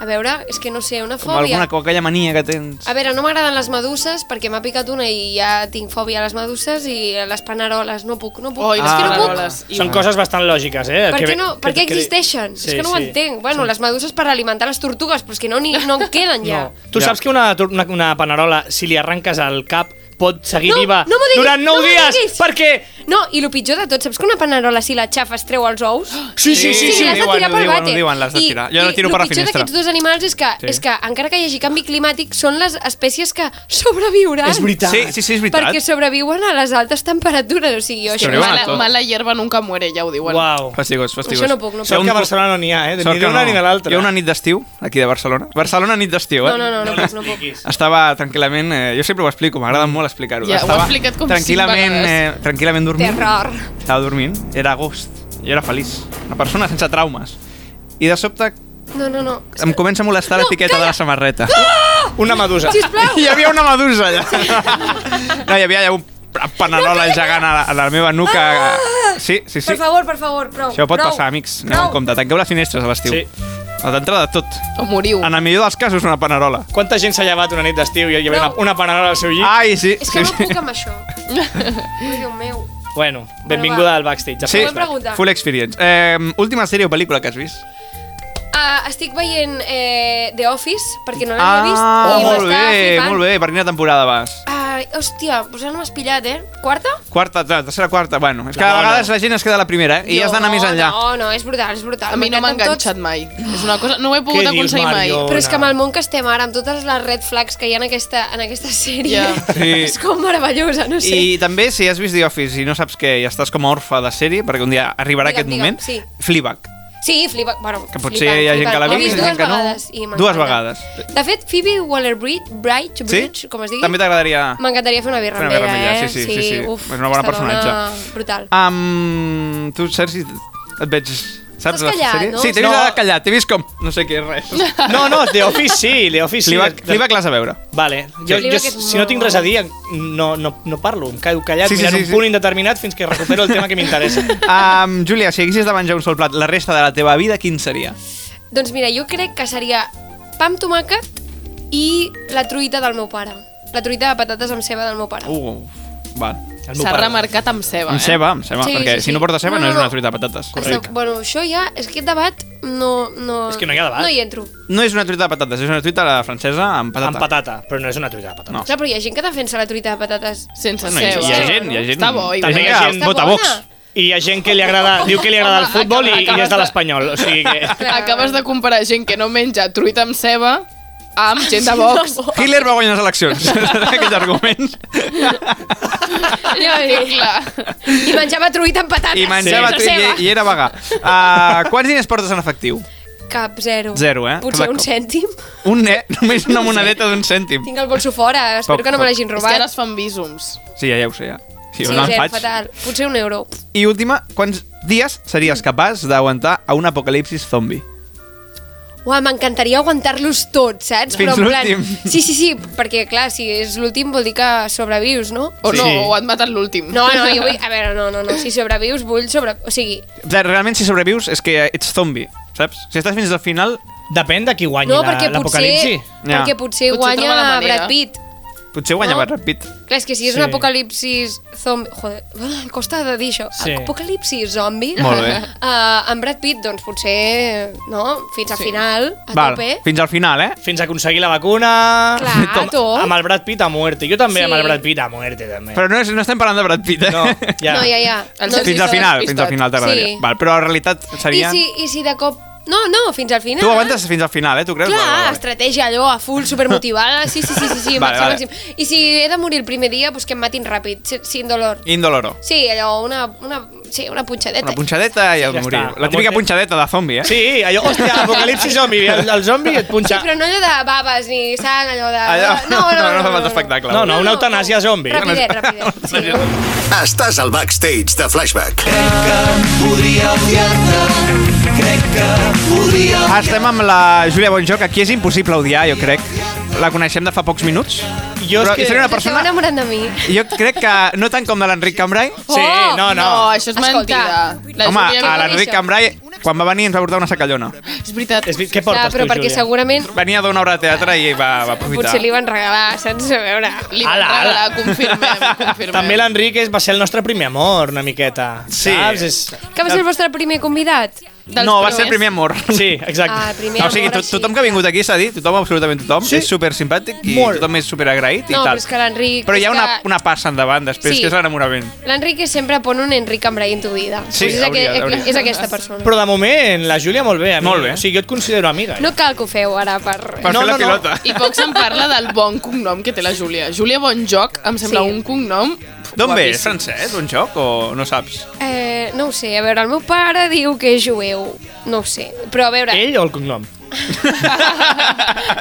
[SPEAKER 5] A veure, és que no sé, una
[SPEAKER 2] com
[SPEAKER 5] fòbia... Ah,
[SPEAKER 2] alguna com aquella mania que tens.
[SPEAKER 5] A veure, no m'agraden les meduses perquè m'ha picat una i ja tinc fòbia a les meduses i a les paneroles, no puc, no puc.
[SPEAKER 6] Oi,
[SPEAKER 5] és que no puc.
[SPEAKER 6] paneroles.
[SPEAKER 7] Ah, Són coses bastant lògiques, eh?
[SPEAKER 5] Per
[SPEAKER 7] Que
[SPEAKER 5] què,
[SPEAKER 7] ve-
[SPEAKER 5] no, per
[SPEAKER 7] que-
[SPEAKER 5] què
[SPEAKER 7] que-
[SPEAKER 5] existeixen?
[SPEAKER 7] Sí,
[SPEAKER 5] és que no ho
[SPEAKER 7] sí.
[SPEAKER 5] entenc. Bueno, les meduses per alimentar les tortugues, però és que no, ni, no en queden ja.
[SPEAKER 7] No. Tu
[SPEAKER 2] Ja.
[SPEAKER 7] saps que una, tor- una, una panerola, si li arrenques al cap, pot seguir
[SPEAKER 5] No,
[SPEAKER 7] viva
[SPEAKER 5] no m'ho diguis,
[SPEAKER 7] durant 9
[SPEAKER 5] no m'ho
[SPEAKER 7] dies?
[SPEAKER 5] diguis.
[SPEAKER 7] Perquè...
[SPEAKER 5] No, i el pitjor de tot, saps que una panerola, si la xafa, es treu els ous?
[SPEAKER 7] Sí, sí, sí, sí.
[SPEAKER 5] l'has de
[SPEAKER 2] diuen,
[SPEAKER 5] tirar
[SPEAKER 2] ho
[SPEAKER 5] pel
[SPEAKER 2] diuen, ho
[SPEAKER 5] vàter.
[SPEAKER 2] diuen, l'has de tirar. Jo la tiro per la
[SPEAKER 5] I el pitjor
[SPEAKER 2] finestra.
[SPEAKER 5] d'aquests dos animals és que,
[SPEAKER 2] Sí.
[SPEAKER 5] és que, encara que hi hagi canvi climàtic, són les espècies que sobreviuran.
[SPEAKER 7] És veritat.
[SPEAKER 2] Sí, sí, sí, és veritat.
[SPEAKER 5] Perquè sobreviuen a les altes temperatures. O sigui, jo això...
[SPEAKER 2] Sobreviuen.
[SPEAKER 6] Mala,
[SPEAKER 2] tot.
[SPEAKER 6] mala hierba nunca muere, ja ho diuen.
[SPEAKER 7] Uau.
[SPEAKER 2] Fastigós, fastigós.
[SPEAKER 5] Això no puc, no puc.
[SPEAKER 2] Hi ha
[SPEAKER 7] Sort
[SPEAKER 2] un-
[SPEAKER 7] que a Barcelona no n'hi ha, eh?
[SPEAKER 2] sort
[SPEAKER 7] Ni
[SPEAKER 2] que
[SPEAKER 7] d'una
[SPEAKER 2] no.
[SPEAKER 7] ni de l'altra.
[SPEAKER 2] Hi ha una nit d'estiu, aquí de Barcelona. Barcelona nit d'estiu, eh?
[SPEAKER 5] No, no, no, no puc, no puc.
[SPEAKER 2] Estava tranquil·lament... Eh, jo sempre ho explico, m'agrada molt explicar-ho.
[SPEAKER 6] Ja, ho ha
[SPEAKER 2] Estava
[SPEAKER 6] explicat com cinc
[SPEAKER 2] tranquil·lament,
[SPEAKER 6] vegades.
[SPEAKER 2] eh, tranquil·lament dormint.
[SPEAKER 5] Terror.
[SPEAKER 2] Estava dormint, era agost, jo era feliç. Una persona sense traumes. i de sobte
[SPEAKER 5] No, no, no.
[SPEAKER 2] em comença a molestar
[SPEAKER 5] No,
[SPEAKER 2] l'etiqueta de
[SPEAKER 5] calla!
[SPEAKER 2] la samarreta.
[SPEAKER 7] Una medusa.
[SPEAKER 5] Sisplau!
[SPEAKER 2] Hi havia una medusa allà. No, hi havia allà un panerola gegant a la, a la meva nuca. Sí, sí, sí.
[SPEAKER 5] Per favor, per favor, prou.
[SPEAKER 2] Això pot
[SPEAKER 5] prou,
[SPEAKER 2] passar, amics. Aneu
[SPEAKER 5] Prou.
[SPEAKER 2] en compte. Tanqueu les finestres a l'estiu.
[SPEAKER 7] Sí.
[SPEAKER 2] A D'entrada, tot.
[SPEAKER 6] O moriu.
[SPEAKER 2] En el millor dels casos, una panerola.
[SPEAKER 7] Quanta gent s'ha llevat una nit d'estiu i hi havia
[SPEAKER 5] No.
[SPEAKER 7] una, una panera al seu llit?
[SPEAKER 2] Ai, sí.
[SPEAKER 5] És que
[SPEAKER 2] sí,
[SPEAKER 5] no
[SPEAKER 2] sí.
[SPEAKER 5] puc amb això. Ai, Déu meu.
[SPEAKER 7] Bueno, benvinguda
[SPEAKER 5] va.
[SPEAKER 7] al backstage. a
[SPEAKER 2] Sí,
[SPEAKER 5] Podem preguntar.
[SPEAKER 2] full experience. Eh, última sèrie o pel·lícula que has vist?
[SPEAKER 5] Uh, estic veient eh, The Office, perquè no l'havia vist. i
[SPEAKER 2] Ah, molt
[SPEAKER 5] m'està
[SPEAKER 2] bé,
[SPEAKER 5] flipant.
[SPEAKER 2] molt bé. Per quina temporada vas?
[SPEAKER 5] Ai, hòstia, pues ara no m'has pillat, eh? Quarta?
[SPEAKER 2] Quarta, ta- tercera, quarta, bueno. És que
[SPEAKER 7] La
[SPEAKER 2] a
[SPEAKER 7] bona.
[SPEAKER 2] vegades la gent es queda a la primera, eh? I has d'anar més enllà.
[SPEAKER 5] No, no, és brutal, és brutal.
[SPEAKER 6] A mi no m'ha
[SPEAKER 5] M'encanten tots.
[SPEAKER 6] enganxat mai. És una cosa... No ho he pogut
[SPEAKER 7] Què dius,
[SPEAKER 6] aconseguir mai.
[SPEAKER 7] Mario?
[SPEAKER 5] Però és
[SPEAKER 7] Ona.
[SPEAKER 5] que amb el món que estem ara, amb totes les red flags que hi ha en aquesta, en aquesta sèrie,
[SPEAKER 6] Ja.
[SPEAKER 2] Sí.
[SPEAKER 5] és com meravellosa, no sé.
[SPEAKER 2] I també, si has vist The Office i no saps què, i estàs com a orfa de sèrie, perquè un dia arribarà
[SPEAKER 5] Digue'm,
[SPEAKER 2] aquest
[SPEAKER 5] digue'm,
[SPEAKER 2] moment,
[SPEAKER 5] sí.
[SPEAKER 2] Fleabag.
[SPEAKER 5] Sí, flipa. Bueno,
[SPEAKER 2] Que potser
[SPEAKER 5] flipant,
[SPEAKER 2] hi ha gent
[SPEAKER 5] flipant.
[SPEAKER 2] que l'ha
[SPEAKER 5] L'he
[SPEAKER 2] vist,
[SPEAKER 5] dues
[SPEAKER 2] gent que no.
[SPEAKER 5] vegades i m'encanta.
[SPEAKER 2] Dues vegades.
[SPEAKER 5] De fet, Phoebe Waller-Bridge, Bright, Bridge, com es digui,
[SPEAKER 2] També t'agradaria...
[SPEAKER 5] m'encantaria fer una birra
[SPEAKER 2] Fer
[SPEAKER 5] amb
[SPEAKER 2] una birra
[SPEAKER 5] ella,
[SPEAKER 2] amb ella,
[SPEAKER 5] eh?
[SPEAKER 2] sí, sí, sí, sí.
[SPEAKER 5] Uf,
[SPEAKER 2] És una bona
[SPEAKER 5] aquesta dona,
[SPEAKER 2] personatge.
[SPEAKER 5] Brutal.
[SPEAKER 2] Um, tu, Sergi, et veig... Saps
[SPEAKER 5] Estàs
[SPEAKER 2] la
[SPEAKER 5] callat,
[SPEAKER 2] sèrie?
[SPEAKER 5] no?
[SPEAKER 2] Sí, t'he
[SPEAKER 7] No.
[SPEAKER 2] vist no. callat, t'he vist com... No sé què és res.
[SPEAKER 7] Barcelona. No, no, The Office sí, The Office sí.
[SPEAKER 2] Fleabag, Fleabag l'has a veure.
[SPEAKER 7] Vale. Jo,
[SPEAKER 5] Fleabag
[SPEAKER 7] jo,
[SPEAKER 5] és
[SPEAKER 7] si no tinc res a dir, no, no, no parlo. Em quedo callat
[SPEAKER 2] Sí, sí,
[SPEAKER 7] sí, sí, mirant
[SPEAKER 2] sí,
[SPEAKER 7] sí,
[SPEAKER 2] sí.
[SPEAKER 7] un punt indeterminat fins que recupero el tema que m'interessa.
[SPEAKER 2] Um, Júlia, si haguessis de menjar un sol plat la resta de la teva vida, quin seria?
[SPEAKER 5] Doncs mira, jo crec que seria pa amb tomàquet i la truita del meu pare. La truita de patates amb ceba del meu pare.
[SPEAKER 2] Uh, val.
[SPEAKER 7] El meu
[SPEAKER 6] S'ha
[SPEAKER 7] pare.
[SPEAKER 6] remarcat amb ceba,
[SPEAKER 2] Amb
[SPEAKER 6] eh?
[SPEAKER 2] ceba, amb ceba,
[SPEAKER 5] Sí,
[SPEAKER 2] perquè
[SPEAKER 5] sí,
[SPEAKER 2] si no
[SPEAKER 5] sí.
[SPEAKER 2] porta ceba no,
[SPEAKER 5] No, no,
[SPEAKER 2] és una
[SPEAKER 5] no.
[SPEAKER 2] truita de patates.
[SPEAKER 5] Correcte. Bueno, això ja, és que aquest debat no... no
[SPEAKER 7] És que no hi ha debat.
[SPEAKER 5] No hi entro.
[SPEAKER 2] No és una truita de patates, és una truita a la francesa amb patata.
[SPEAKER 7] Amb patata, però no és una truita de patata.
[SPEAKER 2] No.
[SPEAKER 5] Clar, però hi ha gent que defensa la truita de patates.
[SPEAKER 6] Sense
[SPEAKER 2] Bueno, hi,
[SPEAKER 6] ceba.
[SPEAKER 2] hi ha gent, hi ha gent.
[SPEAKER 6] Està bo,
[SPEAKER 2] hi ha
[SPEAKER 6] igual.
[SPEAKER 2] gent
[SPEAKER 7] Està
[SPEAKER 2] que
[SPEAKER 7] bona.
[SPEAKER 2] vota Vox.
[SPEAKER 7] I hi ha gent que li agrada, diu que li agrada
[SPEAKER 6] Home,
[SPEAKER 7] el futbol i, i
[SPEAKER 6] acabes
[SPEAKER 7] és de
[SPEAKER 6] de-
[SPEAKER 7] l'espanyol. O sigui que...
[SPEAKER 5] Clar.
[SPEAKER 6] Acabes de comparar gent que no menja truita amb ceba amb gent de Vox.
[SPEAKER 2] Hitler va guanyar les eleccions. Aquests arguments.
[SPEAKER 5] Ja ho dic.
[SPEAKER 6] Clar.
[SPEAKER 5] I menjava truita amb patates.
[SPEAKER 2] I menjava
[SPEAKER 5] sense
[SPEAKER 2] sí.
[SPEAKER 5] ceba.
[SPEAKER 2] i, i era vegà. Uh, quants diners portes en efectiu?
[SPEAKER 5] Cap, zero.
[SPEAKER 2] Zero, eh?
[SPEAKER 5] Potser
[SPEAKER 2] Cada
[SPEAKER 5] un
[SPEAKER 2] cop.
[SPEAKER 5] cèntim.
[SPEAKER 2] Un ne, només una monedeta d'un cèntim.
[SPEAKER 5] Tinc el bolso fora, espero
[SPEAKER 2] Poc,
[SPEAKER 5] que no me
[SPEAKER 2] poc.
[SPEAKER 5] l'hagin
[SPEAKER 6] És que ara
[SPEAKER 5] robat.
[SPEAKER 6] es fan bísums.
[SPEAKER 2] Sí, ja, ja ho sé, ja. Sí,
[SPEAKER 5] sí,
[SPEAKER 2] no en
[SPEAKER 5] zero,
[SPEAKER 2] faig.
[SPEAKER 5] fatal. Potser un euro.
[SPEAKER 2] I última, quants dies series capaç d'aguantar a un apocalipsis zombi?
[SPEAKER 5] Uau, m'encantaria aguantar-los tots, saps?
[SPEAKER 2] Fins
[SPEAKER 5] en plan-
[SPEAKER 2] l'últim.
[SPEAKER 5] Sí, sí, sí, perquè clar, si és l'últim vol dir que sobrevius, no?
[SPEAKER 6] O
[SPEAKER 7] Sí.
[SPEAKER 6] no,
[SPEAKER 7] Sí.
[SPEAKER 6] o han matat l'últim.
[SPEAKER 5] No, no, jo vull... A veure, no, no, no. Si sobrevius, vull sobre... O sigui,
[SPEAKER 2] Realment, si sobrevius, és que ets zombi, saps? Si estàs fins al final,
[SPEAKER 7] Depèn de qui guanyi
[SPEAKER 5] no,
[SPEAKER 7] la-
[SPEAKER 5] perquè potser...
[SPEAKER 7] l'apocalipsi.
[SPEAKER 2] Ja.
[SPEAKER 5] Perquè potser
[SPEAKER 6] Potser
[SPEAKER 5] guanya
[SPEAKER 6] troba la manera.
[SPEAKER 5] Brad Pitt.
[SPEAKER 2] potser guanya
[SPEAKER 5] No.
[SPEAKER 2] no. ràpid.
[SPEAKER 5] Clar, és que si és
[SPEAKER 7] Sí.
[SPEAKER 5] un apocalipsis zombi... Joder, ai, costa de dir això.
[SPEAKER 7] Sí.
[SPEAKER 5] Apocalipsis zombi.
[SPEAKER 2] Molt bé.
[SPEAKER 5] Uh, amb Brad Pitt, doncs potser, no? Fins al final, a
[SPEAKER 2] Val,
[SPEAKER 5] tope.
[SPEAKER 2] fins al final, eh?
[SPEAKER 7] Fins a aconseguir la vacuna...
[SPEAKER 5] Clar,
[SPEAKER 7] Amb-
[SPEAKER 5] tot.
[SPEAKER 7] Amb el Brad Pitt a muerte. Jo també
[SPEAKER 5] Sí.
[SPEAKER 7] amb el Brad Pitt a muerte, també.
[SPEAKER 2] Però no, és, no estem parlant de Brad Pitt, eh?
[SPEAKER 7] No, ja.
[SPEAKER 5] No, ja, ja.
[SPEAKER 6] El
[SPEAKER 5] No,
[SPEAKER 6] Sergi
[SPEAKER 2] Fins al
[SPEAKER 6] s'ha
[SPEAKER 2] final, fins
[SPEAKER 6] despistat.
[SPEAKER 2] al final t'agradaria.
[SPEAKER 5] Sí.
[SPEAKER 2] Val, però en realitat
[SPEAKER 5] I
[SPEAKER 2] seria...
[SPEAKER 5] si, I si de cop... No, no, fins al final.
[SPEAKER 2] Tu aguantes fins al final, eh? Tu creus?
[SPEAKER 5] Clar,
[SPEAKER 2] Vale, vale.
[SPEAKER 5] estratègia allò a full, supermotivada, sí, sí, sí, sí, sí
[SPEAKER 2] Vale,
[SPEAKER 5] vale,
[SPEAKER 2] vale.
[SPEAKER 5] màxim, màxim. I si he de morir el primer dia, doncs que em matin ràpid, si- sin dolor.
[SPEAKER 2] Indoloro.
[SPEAKER 5] Sí, allò, una, una, sí, una punxadeta.
[SPEAKER 2] Una punxadeta i el
[SPEAKER 7] ja
[SPEAKER 2] morir.
[SPEAKER 7] està.
[SPEAKER 2] La típica
[SPEAKER 7] Amor-
[SPEAKER 2] punxadeta de zombi, eh?
[SPEAKER 7] Sí, allò, hòstia, apocalipsi zombi, el, el zombi et
[SPEAKER 5] Sí,
[SPEAKER 7] punxa...
[SPEAKER 5] però no allò de babes ni sang, allò de...
[SPEAKER 2] Allò-
[SPEAKER 5] No, no, no,
[SPEAKER 2] no, no fa falta espectacle.
[SPEAKER 7] No, no, una eutanàsia zombi.
[SPEAKER 5] Rapidet, rapidet. Sí.
[SPEAKER 1] Estàs al backstage de Flashback.
[SPEAKER 3] podria odiar-te, crec que podria
[SPEAKER 2] Ah, Estem amb la Júlia Bonjó, que aquí és impossible odiar, jo crec. La coneixem de fa pocs minuts.
[SPEAKER 7] Jo és
[SPEAKER 2] però
[SPEAKER 7] que-
[SPEAKER 2] seria una
[SPEAKER 5] Persona... Esteu
[SPEAKER 2] persona...
[SPEAKER 5] enamorant de mi. Oh!
[SPEAKER 2] Jo crec que no tant com de l'Enric Cambrai.
[SPEAKER 7] Sí, no, no.
[SPEAKER 6] No, això és
[SPEAKER 5] Escolta.
[SPEAKER 6] mentida. La
[SPEAKER 2] Home,
[SPEAKER 6] Júlia no
[SPEAKER 2] a
[SPEAKER 6] coneix-
[SPEAKER 2] l'Enric Cambrai, quan va venir, ens va portar una sacallona.
[SPEAKER 6] És veritat.
[SPEAKER 7] És, vi- què
[SPEAKER 5] Clar,
[SPEAKER 7] portes
[SPEAKER 5] però
[SPEAKER 7] tu,
[SPEAKER 5] perquè
[SPEAKER 7] Júlia?
[SPEAKER 5] segurament
[SPEAKER 2] Venia d'una obra de teatre i va, va aprofitar.
[SPEAKER 5] potser li van regalar, saps? A veure...
[SPEAKER 6] Li van
[SPEAKER 7] Ala, ala.
[SPEAKER 6] regalar, confirmem, confirmem.
[SPEAKER 7] També l'Enric és- va ser el nostre primer amor, una miqueta.
[SPEAKER 2] Sí.
[SPEAKER 7] Saps? És...
[SPEAKER 5] Que va ser el vostre primer convidat?
[SPEAKER 6] Dels
[SPEAKER 2] No, va ser el primer
[SPEAKER 6] primers.
[SPEAKER 2] amor.
[SPEAKER 7] Sí, exacte.
[SPEAKER 5] Ah, primer
[SPEAKER 2] o sigui,
[SPEAKER 5] amor,
[SPEAKER 2] to
[SPEAKER 5] així.
[SPEAKER 2] tothom que ha vingut aquí s'ha dit, tothom, absolutament tothom,
[SPEAKER 7] Sí.
[SPEAKER 2] és super simpàtic i
[SPEAKER 7] Molt.
[SPEAKER 2] tothom és super agraït i
[SPEAKER 5] No,
[SPEAKER 2] tal.
[SPEAKER 5] però és que l'Enric-
[SPEAKER 2] Però hi ha
[SPEAKER 5] és
[SPEAKER 2] una,
[SPEAKER 5] que-
[SPEAKER 2] una passa endavant després,
[SPEAKER 5] Sí.
[SPEAKER 2] que és l'enamorament.
[SPEAKER 5] L'Enrique sempre pon un Enric Cambrai en tu vida.
[SPEAKER 2] Sí,
[SPEAKER 5] és,
[SPEAKER 2] hauria,
[SPEAKER 5] aqu-
[SPEAKER 2] hauria.
[SPEAKER 5] és aquesta persona.
[SPEAKER 7] Però de moment, la Júlia molt bé. A mi.
[SPEAKER 2] Molt bé.
[SPEAKER 7] O sigui, jo et considero amiga. eh?
[SPEAKER 5] No cal que ho feu ara per...
[SPEAKER 2] Per
[SPEAKER 7] No,
[SPEAKER 2] fer la
[SPEAKER 7] no, no.
[SPEAKER 2] pilota.
[SPEAKER 6] I poc se'n parla del bon cognom que té la Júlia. Júlia Bonjoc em sembla
[SPEAKER 5] Sí.
[SPEAKER 6] un cognom
[SPEAKER 2] D'on ve? És
[SPEAKER 6] guapíssim.
[SPEAKER 2] francès, un joc, o no saps?
[SPEAKER 5] Eh, no ho sé, a veure, el meu pare diu que és jueu. No ho sé, però a veure...
[SPEAKER 7] Ell o el cognom?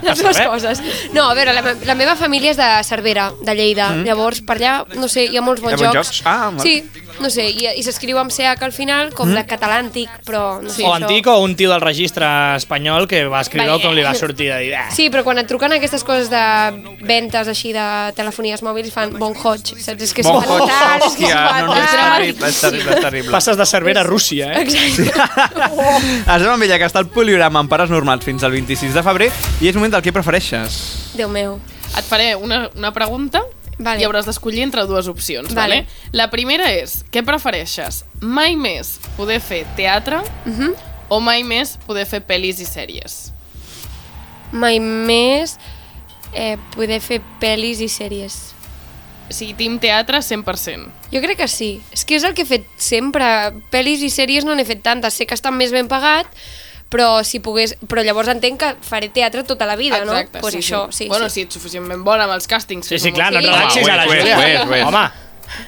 [SPEAKER 5] les dues coses. No, a veure, la, me- la meva família és de Cervera, de Lleida. Mm. Llavors, per allà, no sé, hi ha molts bons
[SPEAKER 2] Hi ha bons
[SPEAKER 5] jocs.
[SPEAKER 2] jocs? Ah, molt-
[SPEAKER 5] sí. no sé, i, i s'escriu amb CH al final, com de català antic, però no sé.
[SPEAKER 7] o
[SPEAKER 5] això-
[SPEAKER 7] antic o un tio del registre espanyol que va escriure
[SPEAKER 5] Vale.
[SPEAKER 7] com li va sortir de dir... "Ah".
[SPEAKER 5] Sí, però quan et truquen aquestes coses de ventes així de telefonies mòbils fan bon hoig, saps? És que és
[SPEAKER 2] Bon,
[SPEAKER 5] fatal, és que és
[SPEAKER 2] hòstia, no, no, és
[SPEAKER 5] fatal.
[SPEAKER 2] terrible, és terrible, és terrible.
[SPEAKER 7] Passes de Cervera a Rússia, eh?
[SPEAKER 5] Exacte.
[SPEAKER 2] Es dona vella que està el poliorama amb pares normals fins al 26 de febrer i és moment del que prefereixes.
[SPEAKER 5] Déu meu.
[SPEAKER 6] Et faré una, una pregunta
[SPEAKER 5] Vale.
[SPEAKER 6] vale. i hauràs d'escollir entre dues opcions.
[SPEAKER 5] Vale.
[SPEAKER 6] Vale. vale. La primera és, què prefereixes? Mai més poder fer teatre uh
[SPEAKER 5] Mhm.
[SPEAKER 6] -huh. o mai més poder fer pel·lis i sèries?
[SPEAKER 5] Mai més eh, poder fer pel·lis i sèries.
[SPEAKER 6] O sigui, team teatre 100%.
[SPEAKER 5] Jo crec que sí. És que és el que he fet sempre. Pel·lis i sèries no n'he fet tantes. Sé que estan més ben pagat, però si pogués... Però llavors entenc que faré teatre tota la vida, no? pues això, sí,
[SPEAKER 6] bueno,
[SPEAKER 5] sí.
[SPEAKER 6] si ets suficientment bona amb els càstings.
[SPEAKER 7] Sí,
[SPEAKER 6] que
[SPEAKER 7] sí,
[SPEAKER 6] és
[SPEAKER 7] clar, no et
[SPEAKER 5] Sí.
[SPEAKER 7] relaxis
[SPEAKER 2] Home,
[SPEAKER 7] a la
[SPEAKER 2] ho és,
[SPEAKER 7] Júlia.
[SPEAKER 2] ho és, ho és.
[SPEAKER 7] Home,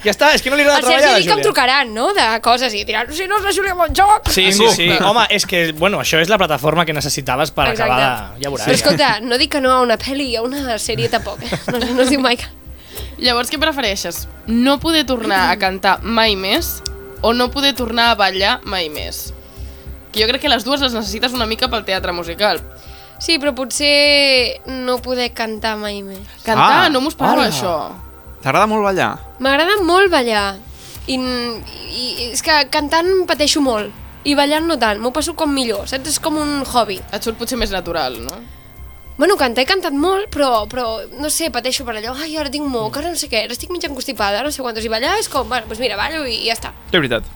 [SPEAKER 7] ja està, és que no li agrada
[SPEAKER 5] El Sergi
[SPEAKER 7] treballar a la
[SPEAKER 5] diu que em
[SPEAKER 7] Júlia.
[SPEAKER 5] trucaran, no?, de coses i diran, si no és la Júlia Montjoc!
[SPEAKER 7] Sí, Ah, sí,
[SPEAKER 2] Ningú.
[SPEAKER 7] sí. Home, és que, bueno, això és la plataforma que necessitaves per
[SPEAKER 5] Exacte.
[SPEAKER 7] acabar de... Ja
[SPEAKER 5] Però
[SPEAKER 7] veuràs.
[SPEAKER 5] escolta, no dic que no a una pel·li i a una sèrie tampoc. eh? No, no es diu mai que...
[SPEAKER 6] Llavors, què prefereixes? No poder tornar a cantar mai més o no poder tornar a ballar mai més? Que jo crec que les dues les necessites una mica pel teatre musical.
[SPEAKER 5] Sí, però potser no poder cantar mai més.
[SPEAKER 6] Cantar,
[SPEAKER 2] Ah,
[SPEAKER 6] ah, no m'ho esperava,
[SPEAKER 7] hola.
[SPEAKER 6] això.
[SPEAKER 2] T'agrada molt ballar?
[SPEAKER 5] M'agrada molt ballar. I, i, és que cantant pateixo molt. I ballant no tant. M'ho passo com millor, saps? És com un hobby.
[SPEAKER 6] Et surt potser més natural, no?
[SPEAKER 5] Bueno, cantar he cantat molt, però, però no sé, pateixo per allò. Ai, ara tinc moc, ara no sé què, ara estic mitja encostipada, ara no sé quantos. I ballar és com, bueno, doncs mira, ballo i ja està.
[SPEAKER 2] De veritat.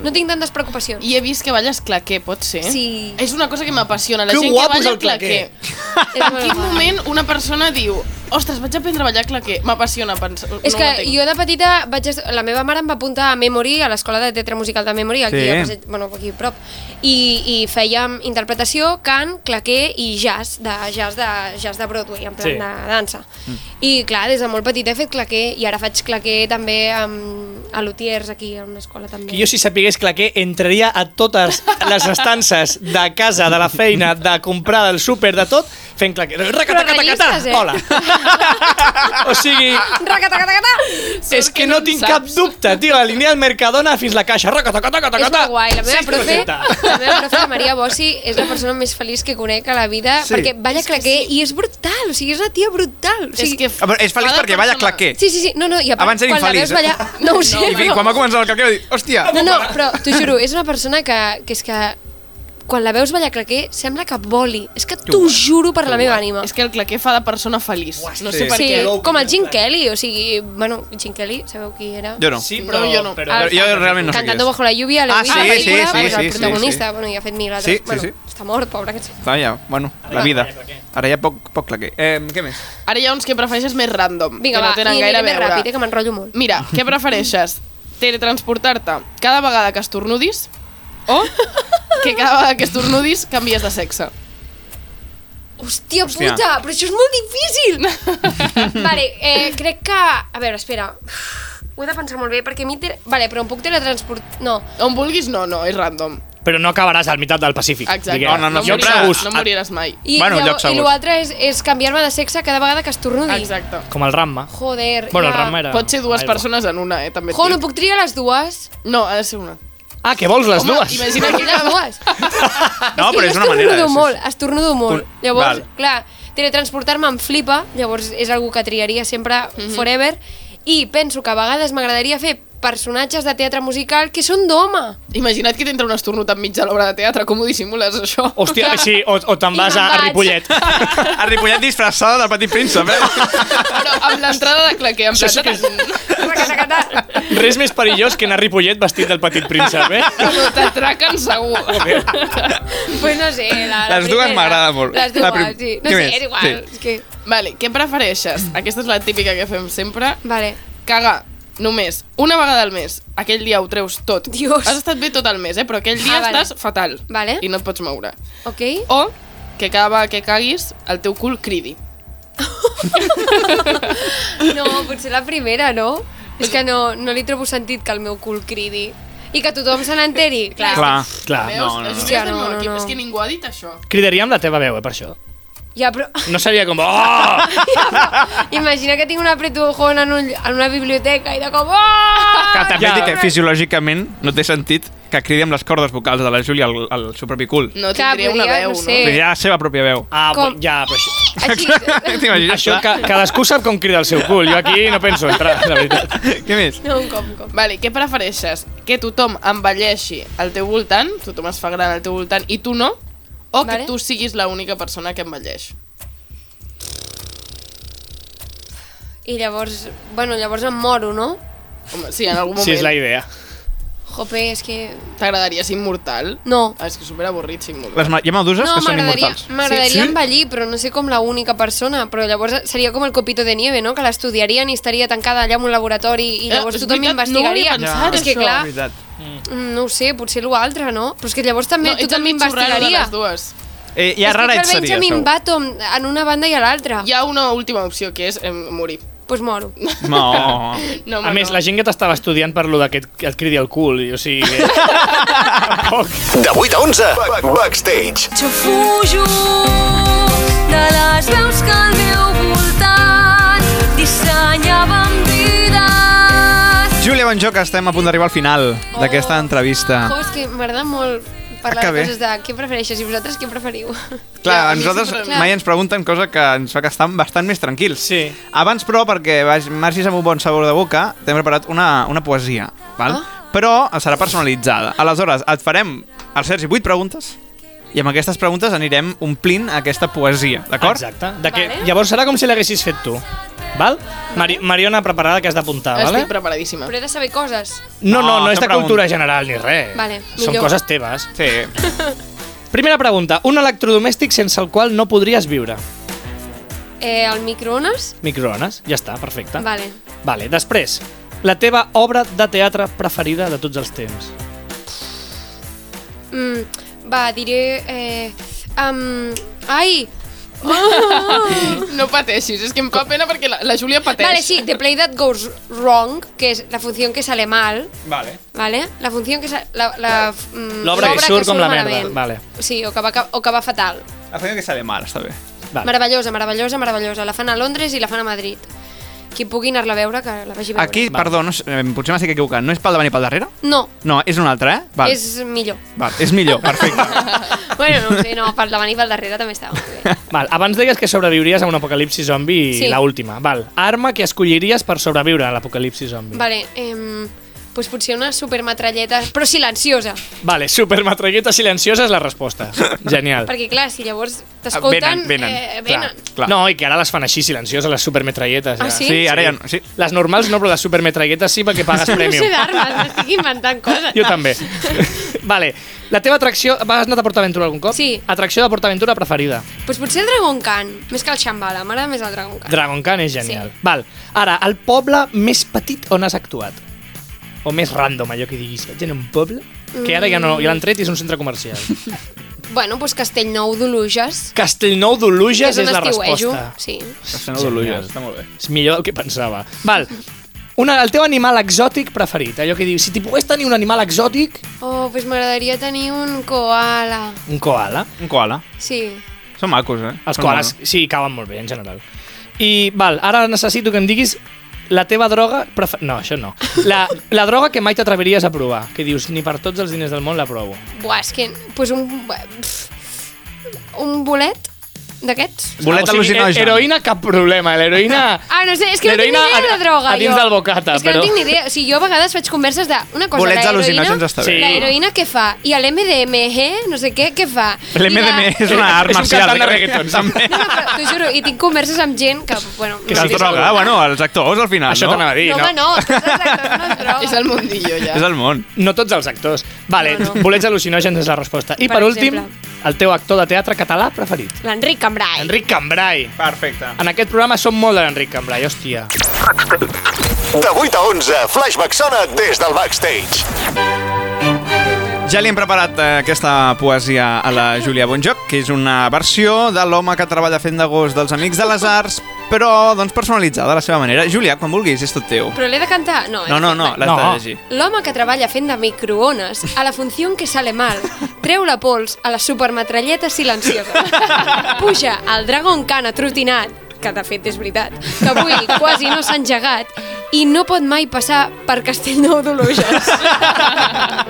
[SPEAKER 5] No tinc tantes preocupacions.
[SPEAKER 6] I he vist que balles claqué, pot ser?
[SPEAKER 5] Sí.
[SPEAKER 6] És una cosa que m'apassiona, la
[SPEAKER 7] Que
[SPEAKER 6] gent que
[SPEAKER 7] guapo és
[SPEAKER 6] balla
[SPEAKER 7] el claqué.
[SPEAKER 5] És
[SPEAKER 6] En
[SPEAKER 5] molt
[SPEAKER 6] quin
[SPEAKER 5] guai.
[SPEAKER 6] moment una persona diu ostres, vaig aprendre a ballar claqué? M'apassiona pensar...
[SPEAKER 5] És
[SPEAKER 6] no
[SPEAKER 5] que
[SPEAKER 6] ho entenc.
[SPEAKER 5] jo de petita vaig... est- La meva mare em va apuntar a Memory, a l'escola de teatre musical de Memory, aquí,
[SPEAKER 2] Sí.
[SPEAKER 5] a Passeig, bueno, aquí a prop, i, i fèiem interpretació, cant, claqué i jazz, de, jazz, de, jazz de Broadway, en plan
[SPEAKER 7] Sí.
[SPEAKER 5] sí. de dansa. Mm. I clar, des de molt petita he fet claqué, i ara faig claqué també amb, a Lutiers, aquí, a una escola també.
[SPEAKER 7] Que jo si sapigués claqué entraria a totes les estances de casa, de la feina, de comprar, del súper, de tot, fent claqué. Racatacatacatà!
[SPEAKER 5] rellistes, eh?
[SPEAKER 7] Hola! O sigui,
[SPEAKER 5] Racatacatacatà!
[SPEAKER 7] és que no tinc cap
[SPEAKER 6] saps.
[SPEAKER 7] dubte, tio, la línia del Mercadona fins la caixa.
[SPEAKER 5] És
[SPEAKER 7] Racatacatacatacatà!
[SPEAKER 5] molt guai, la meva
[SPEAKER 7] Sí,
[SPEAKER 5] profe,
[SPEAKER 7] correcte.
[SPEAKER 5] la meva profe, la Maria Bossi, és la persona més feliç que conec a la vida,
[SPEAKER 2] Sí.
[SPEAKER 5] sí. perquè balla claqué i és brutal, o sigui, és una tia brutal. O sigui,
[SPEAKER 6] És que
[SPEAKER 2] Ah, però és feliç
[SPEAKER 6] cada
[SPEAKER 2] perquè balla
[SPEAKER 6] persona-
[SPEAKER 2] claqué.
[SPEAKER 5] Sí, sí, sí, no, no, i a part,
[SPEAKER 2] Abans era
[SPEAKER 5] quan la
[SPEAKER 2] infeliç,
[SPEAKER 5] veus ballar...
[SPEAKER 2] eh?
[SPEAKER 5] No ho sé,
[SPEAKER 2] I, I
[SPEAKER 5] però-
[SPEAKER 2] quan va començar el calquer va dir, hòstia,
[SPEAKER 5] No, no, però t'ho juro, és una persona que, que és que quan la veus ballar claqué sembla que voli. És que t'ho juro per la meva ànima.
[SPEAKER 6] És que el claqué fa de persona feliç. no
[SPEAKER 2] sí.
[SPEAKER 6] sé per
[SPEAKER 5] Sí,
[SPEAKER 6] què.
[SPEAKER 5] com el Jim Kelly, o sigui, bueno, Jim Kelly, sabeu qui era?
[SPEAKER 2] jo no.
[SPEAKER 7] Sí,
[SPEAKER 6] No,
[SPEAKER 7] però...
[SPEAKER 6] jo no.
[SPEAKER 7] Però,
[SPEAKER 5] Ah,
[SPEAKER 2] jo realment no sé qui
[SPEAKER 5] Cantando
[SPEAKER 2] és.
[SPEAKER 5] bajo la lluvia, la
[SPEAKER 2] Ah,
[SPEAKER 5] Lewis,
[SPEAKER 2] sí,
[SPEAKER 5] la película,
[SPEAKER 2] sí, sí,
[SPEAKER 5] pues,
[SPEAKER 2] sí,
[SPEAKER 5] el
[SPEAKER 2] sí,
[SPEAKER 5] protagonista,
[SPEAKER 2] sí.
[SPEAKER 5] bueno, i ha fet mil altres.
[SPEAKER 2] Sí, sí,
[SPEAKER 5] bueno,
[SPEAKER 2] sí.
[SPEAKER 5] Està mort, pobre. aquest senyor.
[SPEAKER 2] Ah, ja, bueno, la vida. Ara hi ha poc, poc claquer. Eh, què més?
[SPEAKER 6] Ara hi ha uns que prefereixes més random,
[SPEAKER 5] Vinga,
[SPEAKER 6] que
[SPEAKER 5] va,
[SPEAKER 6] no tenen
[SPEAKER 5] i
[SPEAKER 6] gaire a
[SPEAKER 5] aniré més
[SPEAKER 6] veure.
[SPEAKER 5] ràpid, eh, que m'enrotllo molt.
[SPEAKER 6] Mira, què prefereixes? Teletransportar-te cada vegada que estornudis o que cada vegada que estornudis canvies de sexe?
[SPEAKER 5] Hòstia,
[SPEAKER 2] Hòstia.
[SPEAKER 5] Hòstia puta, però això és molt difícil! vale, eh, crec que... A veure, espera. Ho he de pensar molt bé, perquè a mi... Tele... Vale, però em puc teletransport... No.
[SPEAKER 6] On vulguis, no, no, és random.
[SPEAKER 7] però no acabaràs al meitat del Pacífic.
[SPEAKER 6] Exacte.
[SPEAKER 7] diguem.
[SPEAKER 2] No, no, no,
[SPEAKER 7] jo
[SPEAKER 2] sempre-
[SPEAKER 7] segur.
[SPEAKER 6] moriràs, no moriràs mai.
[SPEAKER 5] I,
[SPEAKER 2] Bueno,
[SPEAKER 5] llavors-
[SPEAKER 2] lloc segur.
[SPEAKER 5] I l'altre és, és canviar-me de sexe cada vegada que estornudi.
[SPEAKER 6] Exacte.
[SPEAKER 7] ah, Com el Ramma.
[SPEAKER 5] Joder,
[SPEAKER 7] Bueno, el
[SPEAKER 5] ja...
[SPEAKER 7] Ramma era...
[SPEAKER 6] Pot ser dues
[SPEAKER 7] aigua.
[SPEAKER 6] persones en una, eh, també et
[SPEAKER 5] Jo, no
[SPEAKER 6] dic.
[SPEAKER 5] puc triar les dues?
[SPEAKER 6] No, ha de ser una.
[SPEAKER 7] Ah, que vols les
[SPEAKER 6] Home,
[SPEAKER 7] dues?
[SPEAKER 6] imagina
[SPEAKER 5] Quines
[SPEAKER 6] que
[SPEAKER 5] les dues?
[SPEAKER 2] No,
[SPEAKER 5] que
[SPEAKER 2] però
[SPEAKER 5] jo
[SPEAKER 2] és una manera.
[SPEAKER 5] Estornudo
[SPEAKER 2] és-
[SPEAKER 5] molt, estornudo molt.
[SPEAKER 2] Un-
[SPEAKER 5] Llavors,
[SPEAKER 2] val.
[SPEAKER 5] clar, teletransportar-me em flipa, llavors és algú que triaria sempre forever, i penso que a vegades m'agradaria fer personatges de teatre musical que són d'home.
[SPEAKER 6] Imagina't que t'entra un estornut enmig de l'obra de teatre, com ho dissimules, això?
[SPEAKER 7] Hòstia, sí, o, o te'n
[SPEAKER 5] I
[SPEAKER 7] vas
[SPEAKER 5] me'n
[SPEAKER 7] a, a
[SPEAKER 5] vaig.
[SPEAKER 7] Ripollet.
[SPEAKER 2] A Ripollet disfressada del petit príncep, eh?
[SPEAKER 6] Però amb l'entrada de claquer, en
[SPEAKER 7] sí
[SPEAKER 6] plan...
[SPEAKER 7] que
[SPEAKER 6] Sí
[SPEAKER 7] Res més perillós que anar a Ripollet vestit del petit príncep, eh?
[SPEAKER 6] T'atraquen segur.
[SPEAKER 5] Pues no sé, la, la
[SPEAKER 2] Les dues
[SPEAKER 5] primera.
[SPEAKER 2] m'agrada molt.
[SPEAKER 5] Les dues,
[SPEAKER 2] La prim-
[SPEAKER 5] sí. No
[SPEAKER 2] Què
[SPEAKER 5] sé,
[SPEAKER 2] més?
[SPEAKER 5] és igual.
[SPEAKER 2] Sí.
[SPEAKER 5] Sí. És que...
[SPEAKER 6] Vale, què prefereixes? Aquesta és la típica que fem sempre.
[SPEAKER 5] Vale.
[SPEAKER 6] Cagar només una vegada al mes. Aquell dia ho treus tot.
[SPEAKER 5] Dios.
[SPEAKER 6] Has estat bé tot el mes, eh? Però aquell dia
[SPEAKER 5] Ah, vale.
[SPEAKER 6] estàs fatal.
[SPEAKER 5] Vale.
[SPEAKER 6] I no et pots moure.
[SPEAKER 5] Ok?
[SPEAKER 6] O que cada vegada que caguis, el teu cul cridi.
[SPEAKER 5] No, potser la primera, no? És que no, no li trobo sentit que el meu cul cridi. I que tothom se n'enteri. Clar.
[SPEAKER 2] Clar,
[SPEAKER 7] clar.
[SPEAKER 6] Veus?
[SPEAKER 7] No, no,
[SPEAKER 6] És
[SPEAKER 7] no.
[SPEAKER 6] un
[SPEAKER 5] Hòstia, no,
[SPEAKER 6] exemple,
[SPEAKER 5] no,
[SPEAKER 6] aquí.
[SPEAKER 5] no.
[SPEAKER 6] És que ningú ha dit això.
[SPEAKER 7] Cridaria amb la teva veu, eh, per això.
[SPEAKER 5] Ja, però...
[SPEAKER 7] No seria com... Oh!
[SPEAKER 5] Ja, però... Imagina que tinc una apretujón en, un, en una biblioteca i de com... Oh!
[SPEAKER 2] Que també
[SPEAKER 7] Ja.
[SPEAKER 2] ja. que fisiològicament no té sentit que cridi amb les cordes vocals de la Júlia al, al seu propi cul. No.
[SPEAKER 6] No
[SPEAKER 5] Que
[SPEAKER 6] tindria una
[SPEAKER 5] podria,
[SPEAKER 6] veu,
[SPEAKER 5] no
[SPEAKER 6] no?
[SPEAKER 5] sé.
[SPEAKER 2] Té la seva pròpia veu.
[SPEAKER 7] Ah,
[SPEAKER 5] Com?
[SPEAKER 7] bo- ja, però això...
[SPEAKER 5] Així,
[SPEAKER 2] T'imagines?
[SPEAKER 7] Això, ca cadascú sap com crida el seu cul. Jo aquí no penso entrar, la veritat.
[SPEAKER 2] Què més?
[SPEAKER 5] no, un cop, un cop.
[SPEAKER 6] Vale, què prefereixes? Que tothom envelleixi al teu voltant, tothom es fa gran al teu voltant i tu no, o
[SPEAKER 5] Vale.
[SPEAKER 6] que tu siguis l'única persona que envelleix?
[SPEAKER 5] I llavors, bueno, llavors em moro, no?
[SPEAKER 6] Home, sí, en algun moment
[SPEAKER 7] Si és la idea.
[SPEAKER 5] Jope, és que...
[SPEAKER 6] t'agradaria ser immortal?
[SPEAKER 5] No.
[SPEAKER 6] Ah, és que superavorrit ser immortal.
[SPEAKER 2] Les, ma- hi ha meduses
[SPEAKER 5] No,
[SPEAKER 2] que són
[SPEAKER 5] m'agradaria
[SPEAKER 2] immortals.
[SPEAKER 5] m'agradaria
[SPEAKER 7] Sí? Sí?
[SPEAKER 5] envellir, però no sé com la única persona. Però llavors seria com el copito de nieve, no? Que l'estudiarien i estaria tancada allà en un laboratori i
[SPEAKER 6] Eh,
[SPEAKER 5] llavors
[SPEAKER 6] és
[SPEAKER 5] tothom
[SPEAKER 6] veritat, no ho
[SPEAKER 5] m'investigaria.
[SPEAKER 6] havia pensat,
[SPEAKER 5] és que,
[SPEAKER 6] això.
[SPEAKER 5] clar,
[SPEAKER 2] oh, Veritat.
[SPEAKER 5] mm, no ho sé, potser l'altre, no? Però és que llavors també
[SPEAKER 6] ets el
[SPEAKER 5] tothom
[SPEAKER 6] mig xurrero de
[SPEAKER 5] m'investigaria.
[SPEAKER 6] les dues.
[SPEAKER 2] Eh, ja rara et
[SPEAKER 5] és que
[SPEAKER 2] seria,
[SPEAKER 5] Benjamin
[SPEAKER 2] segur.
[SPEAKER 5] Button en una banda i a l'altra.
[SPEAKER 6] Hi ha una última opció, que és eh, morir.
[SPEAKER 5] Doncs pues moro.
[SPEAKER 2] No.
[SPEAKER 6] No,
[SPEAKER 7] A més, la gent que t'estava estudiant per lo de que et, que et cridi el cul, i, o sigui... Que... Tampoc.
[SPEAKER 1] De 8 a 11, Back- Backstage.
[SPEAKER 4] Jo fujo de les veus que al meu voltant dissenyaven vides.
[SPEAKER 2] Júlia Bonjoc, estem a punt d'arribar al final
[SPEAKER 5] Oh.
[SPEAKER 2] d'aquesta
[SPEAKER 7] Ah.
[SPEAKER 2] entrevista.
[SPEAKER 5] Jo, és que m'agrada molt parlar
[SPEAKER 2] Ah, que
[SPEAKER 5] de
[SPEAKER 2] bé.
[SPEAKER 5] coses de què prefereixes i vosaltres què preferiu.
[SPEAKER 2] Clar,
[SPEAKER 6] Clar,
[SPEAKER 2] a
[SPEAKER 6] a mi
[SPEAKER 2] nosaltres
[SPEAKER 6] sempre-
[SPEAKER 2] mai ens pregunten cosa que ens fa que estem bastant més tranquils.
[SPEAKER 7] Sí.
[SPEAKER 2] Abans, però, perquè vaig- marxis amb un bon sabor de boca, t'hem preparat una, una poesia, val? però serà personalitzada. Aleshores, et farem, al Sergi, vuit preguntes, i amb aquestes preguntes anirem omplint aquesta poesia, d'acord?
[SPEAKER 7] Exacte. De que,
[SPEAKER 5] Vale.
[SPEAKER 7] Llavors serà com si l'haguessis fet tu. Val? Mari Mariona, preparada, que has d'apuntar,
[SPEAKER 6] Estic
[SPEAKER 7] vale?
[SPEAKER 6] preparadíssima.
[SPEAKER 5] Però he de saber coses.
[SPEAKER 7] No,
[SPEAKER 2] No,
[SPEAKER 7] no, no és de
[SPEAKER 2] sempre
[SPEAKER 7] cultura
[SPEAKER 2] un.
[SPEAKER 7] general ni res.
[SPEAKER 5] Vale,
[SPEAKER 7] Són
[SPEAKER 5] millor.
[SPEAKER 7] coses teves.
[SPEAKER 2] Sí.
[SPEAKER 7] Primera pregunta. Un electrodomèstic sense el qual no podries viure.
[SPEAKER 5] Eh, el microones?
[SPEAKER 7] Microones. Ja està, perfecte.
[SPEAKER 5] Vale.
[SPEAKER 7] Vale, després. La teva obra de teatre preferida de tots els temps.
[SPEAKER 5] Mm, va, diré... Eh, um, ai!
[SPEAKER 6] No pateixis, és que em fa pena perquè la, la Júlia pateix.
[SPEAKER 5] Vale, sí, The Play That Goes Wrong, que és la funció que sale mal,
[SPEAKER 2] Vale.
[SPEAKER 5] ¿vale? La funció que sale... La, la, mm,
[SPEAKER 7] L'obra que
[SPEAKER 5] l'obra
[SPEAKER 7] surt com la merda,
[SPEAKER 5] malament.
[SPEAKER 7] vale.
[SPEAKER 5] Sí, o que, va, ca- o que va fatal.
[SPEAKER 2] La feina que sale mal, està bé.
[SPEAKER 7] Vale.
[SPEAKER 5] Meravellosa, meravellosa, meravellosa. La fan a Londres i la fan a Madrid. Qui pugui anar-la a veure, que la vagi a veure.
[SPEAKER 2] Aquí, perdó, no, és- eh, potser m'estic equivocant, no és pel davant i pel darrere?
[SPEAKER 5] No,
[SPEAKER 2] No, és un altre, eh? Val.
[SPEAKER 5] és millor.
[SPEAKER 2] Val, és millor, perfecte.
[SPEAKER 5] bueno, no ho sé, no, pel davant i pel darrere també estava molt bé.
[SPEAKER 7] Val, abans deies que sobreviuries a un apocalipsi zombi
[SPEAKER 5] Sí.
[SPEAKER 7] sí. la última. Val, arma que escolliries per sobreviure a l'apocalipsi zombi.
[SPEAKER 5] Vale, ehm, doncs potser una supermetralleta, però silenciosa.
[SPEAKER 7] Vale, supermatralleta silenciosa és la resposta. Genial.
[SPEAKER 5] Perquè, clar, si llavors
[SPEAKER 2] Venen,
[SPEAKER 5] t'escolten...
[SPEAKER 2] venen,
[SPEAKER 5] Eh,
[SPEAKER 2] clar.
[SPEAKER 5] venen.
[SPEAKER 2] Clar.
[SPEAKER 7] No, i que ara les fan així silencioses, les supermetralletes.
[SPEAKER 5] Ah,
[SPEAKER 7] ja.
[SPEAKER 5] sí?
[SPEAKER 2] Sí, ara ja no, sí.
[SPEAKER 7] Les normals no, però les supermetralletes sí perquè pagues
[SPEAKER 5] No sé
[SPEAKER 7] premium.
[SPEAKER 5] d'armes, m'estic inventant coses.
[SPEAKER 7] Jo també. vale, la teva atracció... Vas anar a PortAventura algun cop?
[SPEAKER 5] Sí.
[SPEAKER 7] Atracció de PortAventura preferida.
[SPEAKER 5] Doncs potser el Dragon Khan, més que el Shambhala, m'agrada més el Dragon Khan.
[SPEAKER 7] Dragon Khan és genial. Sí. Val, ara, el poble més petit on has actuat? O més random, allò que diguis, vaig anar a un poble que ara ja no, ja l'han tret i és un centre comercial.
[SPEAKER 5] bueno, doncs Castellnou d'Oluges.
[SPEAKER 7] Castellnou
[SPEAKER 5] que
[SPEAKER 7] d'Oluges
[SPEAKER 5] un
[SPEAKER 7] és la
[SPEAKER 5] estiuejo,
[SPEAKER 7] resposta.
[SPEAKER 5] Sí.
[SPEAKER 2] Castellnou d'Oluges, està molt bé.
[SPEAKER 7] És millor del que pensava. Val, una, el teu animal exòtic preferit, allò que dius, si t'hi pogués tenir un animal exòtic,
[SPEAKER 5] Oh, doncs m'agradaria tenir un koala.
[SPEAKER 7] un koala.
[SPEAKER 2] Un koala.
[SPEAKER 5] Sí.
[SPEAKER 2] Són macos, eh?
[SPEAKER 7] Els
[SPEAKER 2] Són
[SPEAKER 7] koalas,
[SPEAKER 2] monos.
[SPEAKER 7] sí, cauen molt bé, en general. I, val, ara necessito que em diguis la teva droga... Prefer... No, això no. La, la droga que mai t'atreviries a provar, que dius, ni per tots els diners del món la provo.
[SPEAKER 5] Buah, és que... Doncs un... pff, Un bolet d'aquests.
[SPEAKER 2] Bolet al·lucinogen.
[SPEAKER 7] he- Heroïna, cap problema. L'heroïna...
[SPEAKER 5] Ah, no sé, és que no tinc ni
[SPEAKER 7] L'heroïna
[SPEAKER 5] idea de
[SPEAKER 7] a-
[SPEAKER 5] la droga.
[SPEAKER 7] a dins
[SPEAKER 5] jo.
[SPEAKER 7] del bocata,
[SPEAKER 5] És que
[SPEAKER 7] però-
[SPEAKER 5] no tinc ni idea. O sigui, jo a vegades faig converses de... Una cosa,
[SPEAKER 2] Bolets
[SPEAKER 5] la heroïna-
[SPEAKER 2] al·lucinogens està bé.
[SPEAKER 7] Sí.
[SPEAKER 5] La heroïna què fa? I l'MDMG, no sé què, què fa? I
[SPEAKER 2] L'MDM
[SPEAKER 5] la-
[SPEAKER 2] és una
[SPEAKER 7] És
[SPEAKER 2] art
[SPEAKER 7] un
[SPEAKER 2] marcial.
[SPEAKER 7] cantant de reggaeton, sí.
[SPEAKER 2] També.
[SPEAKER 5] No, no, però t'ho juro, i tinc converses amb gent que, bueno...
[SPEAKER 7] Que
[SPEAKER 2] Que
[SPEAKER 5] no,
[SPEAKER 2] és
[SPEAKER 7] sí,
[SPEAKER 2] droga, Ah,
[SPEAKER 7] segur.
[SPEAKER 2] bueno, els actors al final,
[SPEAKER 7] Això
[SPEAKER 2] no?
[SPEAKER 7] t'anava a dir,
[SPEAKER 5] no,
[SPEAKER 7] no?
[SPEAKER 5] home, no, és que els actors no és droga.
[SPEAKER 6] És el mundillo, ja.
[SPEAKER 2] És el món.
[SPEAKER 7] No tots els actors. Vale,
[SPEAKER 5] No,
[SPEAKER 7] no,
[SPEAKER 5] no.
[SPEAKER 7] no. bolets al·lucinògens és la resposta. I
[SPEAKER 5] Per
[SPEAKER 7] per, últim,
[SPEAKER 5] exemple.
[SPEAKER 7] el teu actor de teatre català preferit.
[SPEAKER 5] L'Enric Cambrai.
[SPEAKER 7] Enric Cambrai.
[SPEAKER 2] Perfecte.
[SPEAKER 7] En aquest programa som molt de l'Enric Cambrai, hòstia.
[SPEAKER 1] De 8 a 11, Flashback sona des del Backstage.
[SPEAKER 2] Ja li hem preparat eh, aquesta poesia a la Júlia Bonjoc, que és una versió de l'home que treballa fent de gos dels Amics de les Arts, però doncs, personalitzada a la seva manera. Júlia, quan vulguis, és tot teu.
[SPEAKER 5] Però l'he de cantar? No, eh?
[SPEAKER 2] No, no, no,
[SPEAKER 5] Vale.
[SPEAKER 2] l'has de
[SPEAKER 7] No.
[SPEAKER 2] llegir.
[SPEAKER 5] L'home que treballa fent de microones a la funció que sale mal treu la pols a la supermetralleta silenciosa. Puja al Dragon Khan atrotinat, que de fet és veritat, que avui quasi no s'ha engegat i no pot mai passar per Castellnou d'Oluges.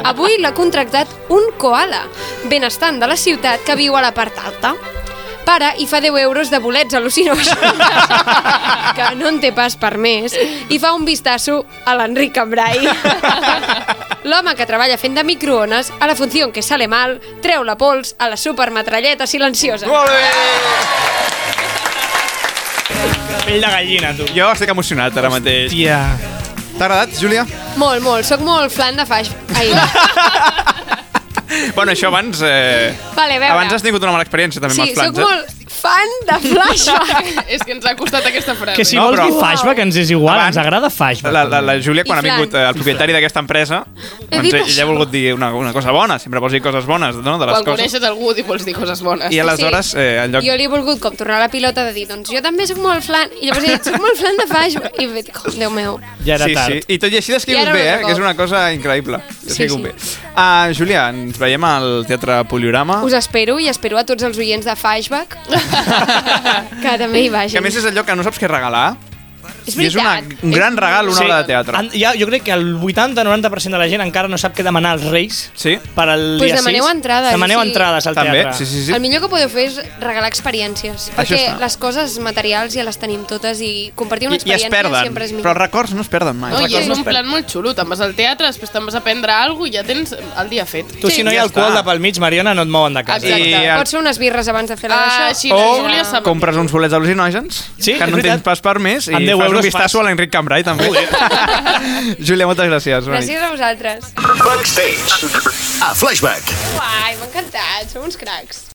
[SPEAKER 5] Avui l'ha contractat un koala, benestant de la ciutat que viu a la part alta. Para i fa 10 euros de bolets al·lucinògens, que no en té pas per més, i fa un vistasso a l'Enric Cambrai. L'home que treballa fent de microones, a la funció en què sale mal, treu la pols a la supermetralleta silenciosa.
[SPEAKER 2] Molt bé!
[SPEAKER 7] Pell de gallina, tu.
[SPEAKER 2] Jo estic emocionat ara mateix.
[SPEAKER 7] Hòstia.
[SPEAKER 2] T'ha agradat, Júlia?
[SPEAKER 5] Molt, molt. Soc molt flan de faix. Ai.
[SPEAKER 2] Bueno, això abans... Eh...
[SPEAKER 5] Vale, a veure.
[SPEAKER 2] Abans has tingut una mala experiència també amb
[SPEAKER 5] Sí,
[SPEAKER 2] els plans,
[SPEAKER 5] soc
[SPEAKER 2] eh?
[SPEAKER 5] molt fan de flashback.
[SPEAKER 6] És que ens ha costat aquesta frase.
[SPEAKER 7] Que si
[SPEAKER 2] No,
[SPEAKER 7] vols
[SPEAKER 2] però-
[SPEAKER 7] dir flashback ens és igual,
[SPEAKER 2] Abans-
[SPEAKER 7] ens agrada
[SPEAKER 2] eh?
[SPEAKER 7] flashback.
[SPEAKER 2] La, la, la Júlia, quan
[SPEAKER 5] I
[SPEAKER 2] ha vingut eh,
[SPEAKER 5] flan.
[SPEAKER 2] el propietari d'aquesta empresa, doncs
[SPEAKER 5] dit
[SPEAKER 2] ell- ella ha volgut dir una, una cosa bona, sempre vols dir coses bones, no?, de les
[SPEAKER 6] Quan
[SPEAKER 2] coses.
[SPEAKER 6] coneixes algú i vols dir coses bones.
[SPEAKER 2] I aleshores, eh, en lloc...
[SPEAKER 5] Jo li he volgut com tornar la pilota de dir, doncs jo també sóc molt flan, i llavors he dit, sóc molt flan de flashback, i he dit, oh, Déu meu.
[SPEAKER 7] Ja era
[SPEAKER 2] sí,
[SPEAKER 7] tard.
[SPEAKER 2] sí. I tot i així
[SPEAKER 5] I
[SPEAKER 2] descrius
[SPEAKER 5] ara
[SPEAKER 2] bé,
[SPEAKER 5] un
[SPEAKER 2] eh?
[SPEAKER 5] altre
[SPEAKER 2] Que és
[SPEAKER 5] cop.
[SPEAKER 2] una cosa increïble. Descrius
[SPEAKER 5] sí.
[SPEAKER 2] bé. Ah, Júlia, ens veiem al Teatre Poliorama.
[SPEAKER 5] Us espero i espero a tots els oients de flashback que també hi
[SPEAKER 2] Que a
[SPEAKER 5] vagin.
[SPEAKER 2] més és allò que no saps què regalar.
[SPEAKER 5] és Eh,
[SPEAKER 2] I és una, un gran regal, una
[SPEAKER 7] Sí.
[SPEAKER 2] obra de teatre.
[SPEAKER 7] En- Ja, jo crec que el 80-90% de la gent encara no sap què demanar als Reis
[SPEAKER 2] Sí.
[SPEAKER 7] per al
[SPEAKER 5] Pues
[SPEAKER 7] dia 6.
[SPEAKER 5] demaneu entrades,
[SPEAKER 7] Demaneu
[SPEAKER 5] sí.
[SPEAKER 7] entrades al
[SPEAKER 2] També,
[SPEAKER 7] teatre.
[SPEAKER 2] sí, sí, sí.
[SPEAKER 5] El millor que podeu fer és regalar experiències, perquè
[SPEAKER 2] està.
[SPEAKER 5] les coses materials ja les tenim totes i compartir
[SPEAKER 2] I,
[SPEAKER 5] una
[SPEAKER 2] I es
[SPEAKER 5] experiència
[SPEAKER 2] perden,
[SPEAKER 5] sempre és
[SPEAKER 2] però els
[SPEAKER 5] millor.
[SPEAKER 2] records no es perden mai.
[SPEAKER 6] No,
[SPEAKER 2] Els
[SPEAKER 6] i és
[SPEAKER 2] records
[SPEAKER 6] un plan molt xulo. Te'n vas al teatre, després te'n vas a prendre alguna cosa i ja tens el dia fet.
[SPEAKER 7] Tu, si no hi
[SPEAKER 2] ja
[SPEAKER 7] ha alcohol
[SPEAKER 2] està.
[SPEAKER 7] de pel mig, Mariona, no et mouen de casa.
[SPEAKER 2] I
[SPEAKER 6] Exacte.
[SPEAKER 2] el-
[SPEAKER 5] Pots fer unes birres abans de fer la
[SPEAKER 6] Ah,
[SPEAKER 5] d'això?
[SPEAKER 6] així
[SPEAKER 2] O
[SPEAKER 6] la Júlia sap...
[SPEAKER 2] compres uns bolets al·lucinògens,
[SPEAKER 7] Sí,
[SPEAKER 2] que
[SPEAKER 7] és
[SPEAKER 2] no en tens
[SPEAKER 7] veritat.
[SPEAKER 2] pas per més, i
[SPEAKER 7] Amb
[SPEAKER 2] fas
[SPEAKER 7] deu
[SPEAKER 2] un
[SPEAKER 7] euros
[SPEAKER 2] vistasso
[SPEAKER 7] fas.
[SPEAKER 2] a l'Enric Cambrai, també. Júlia, moltes gràcies. bona nit.
[SPEAKER 5] Gràcies a vosaltres.
[SPEAKER 1] Backstage. A Flashback.
[SPEAKER 5] Uai, m'ha encantat, sou uns cracs.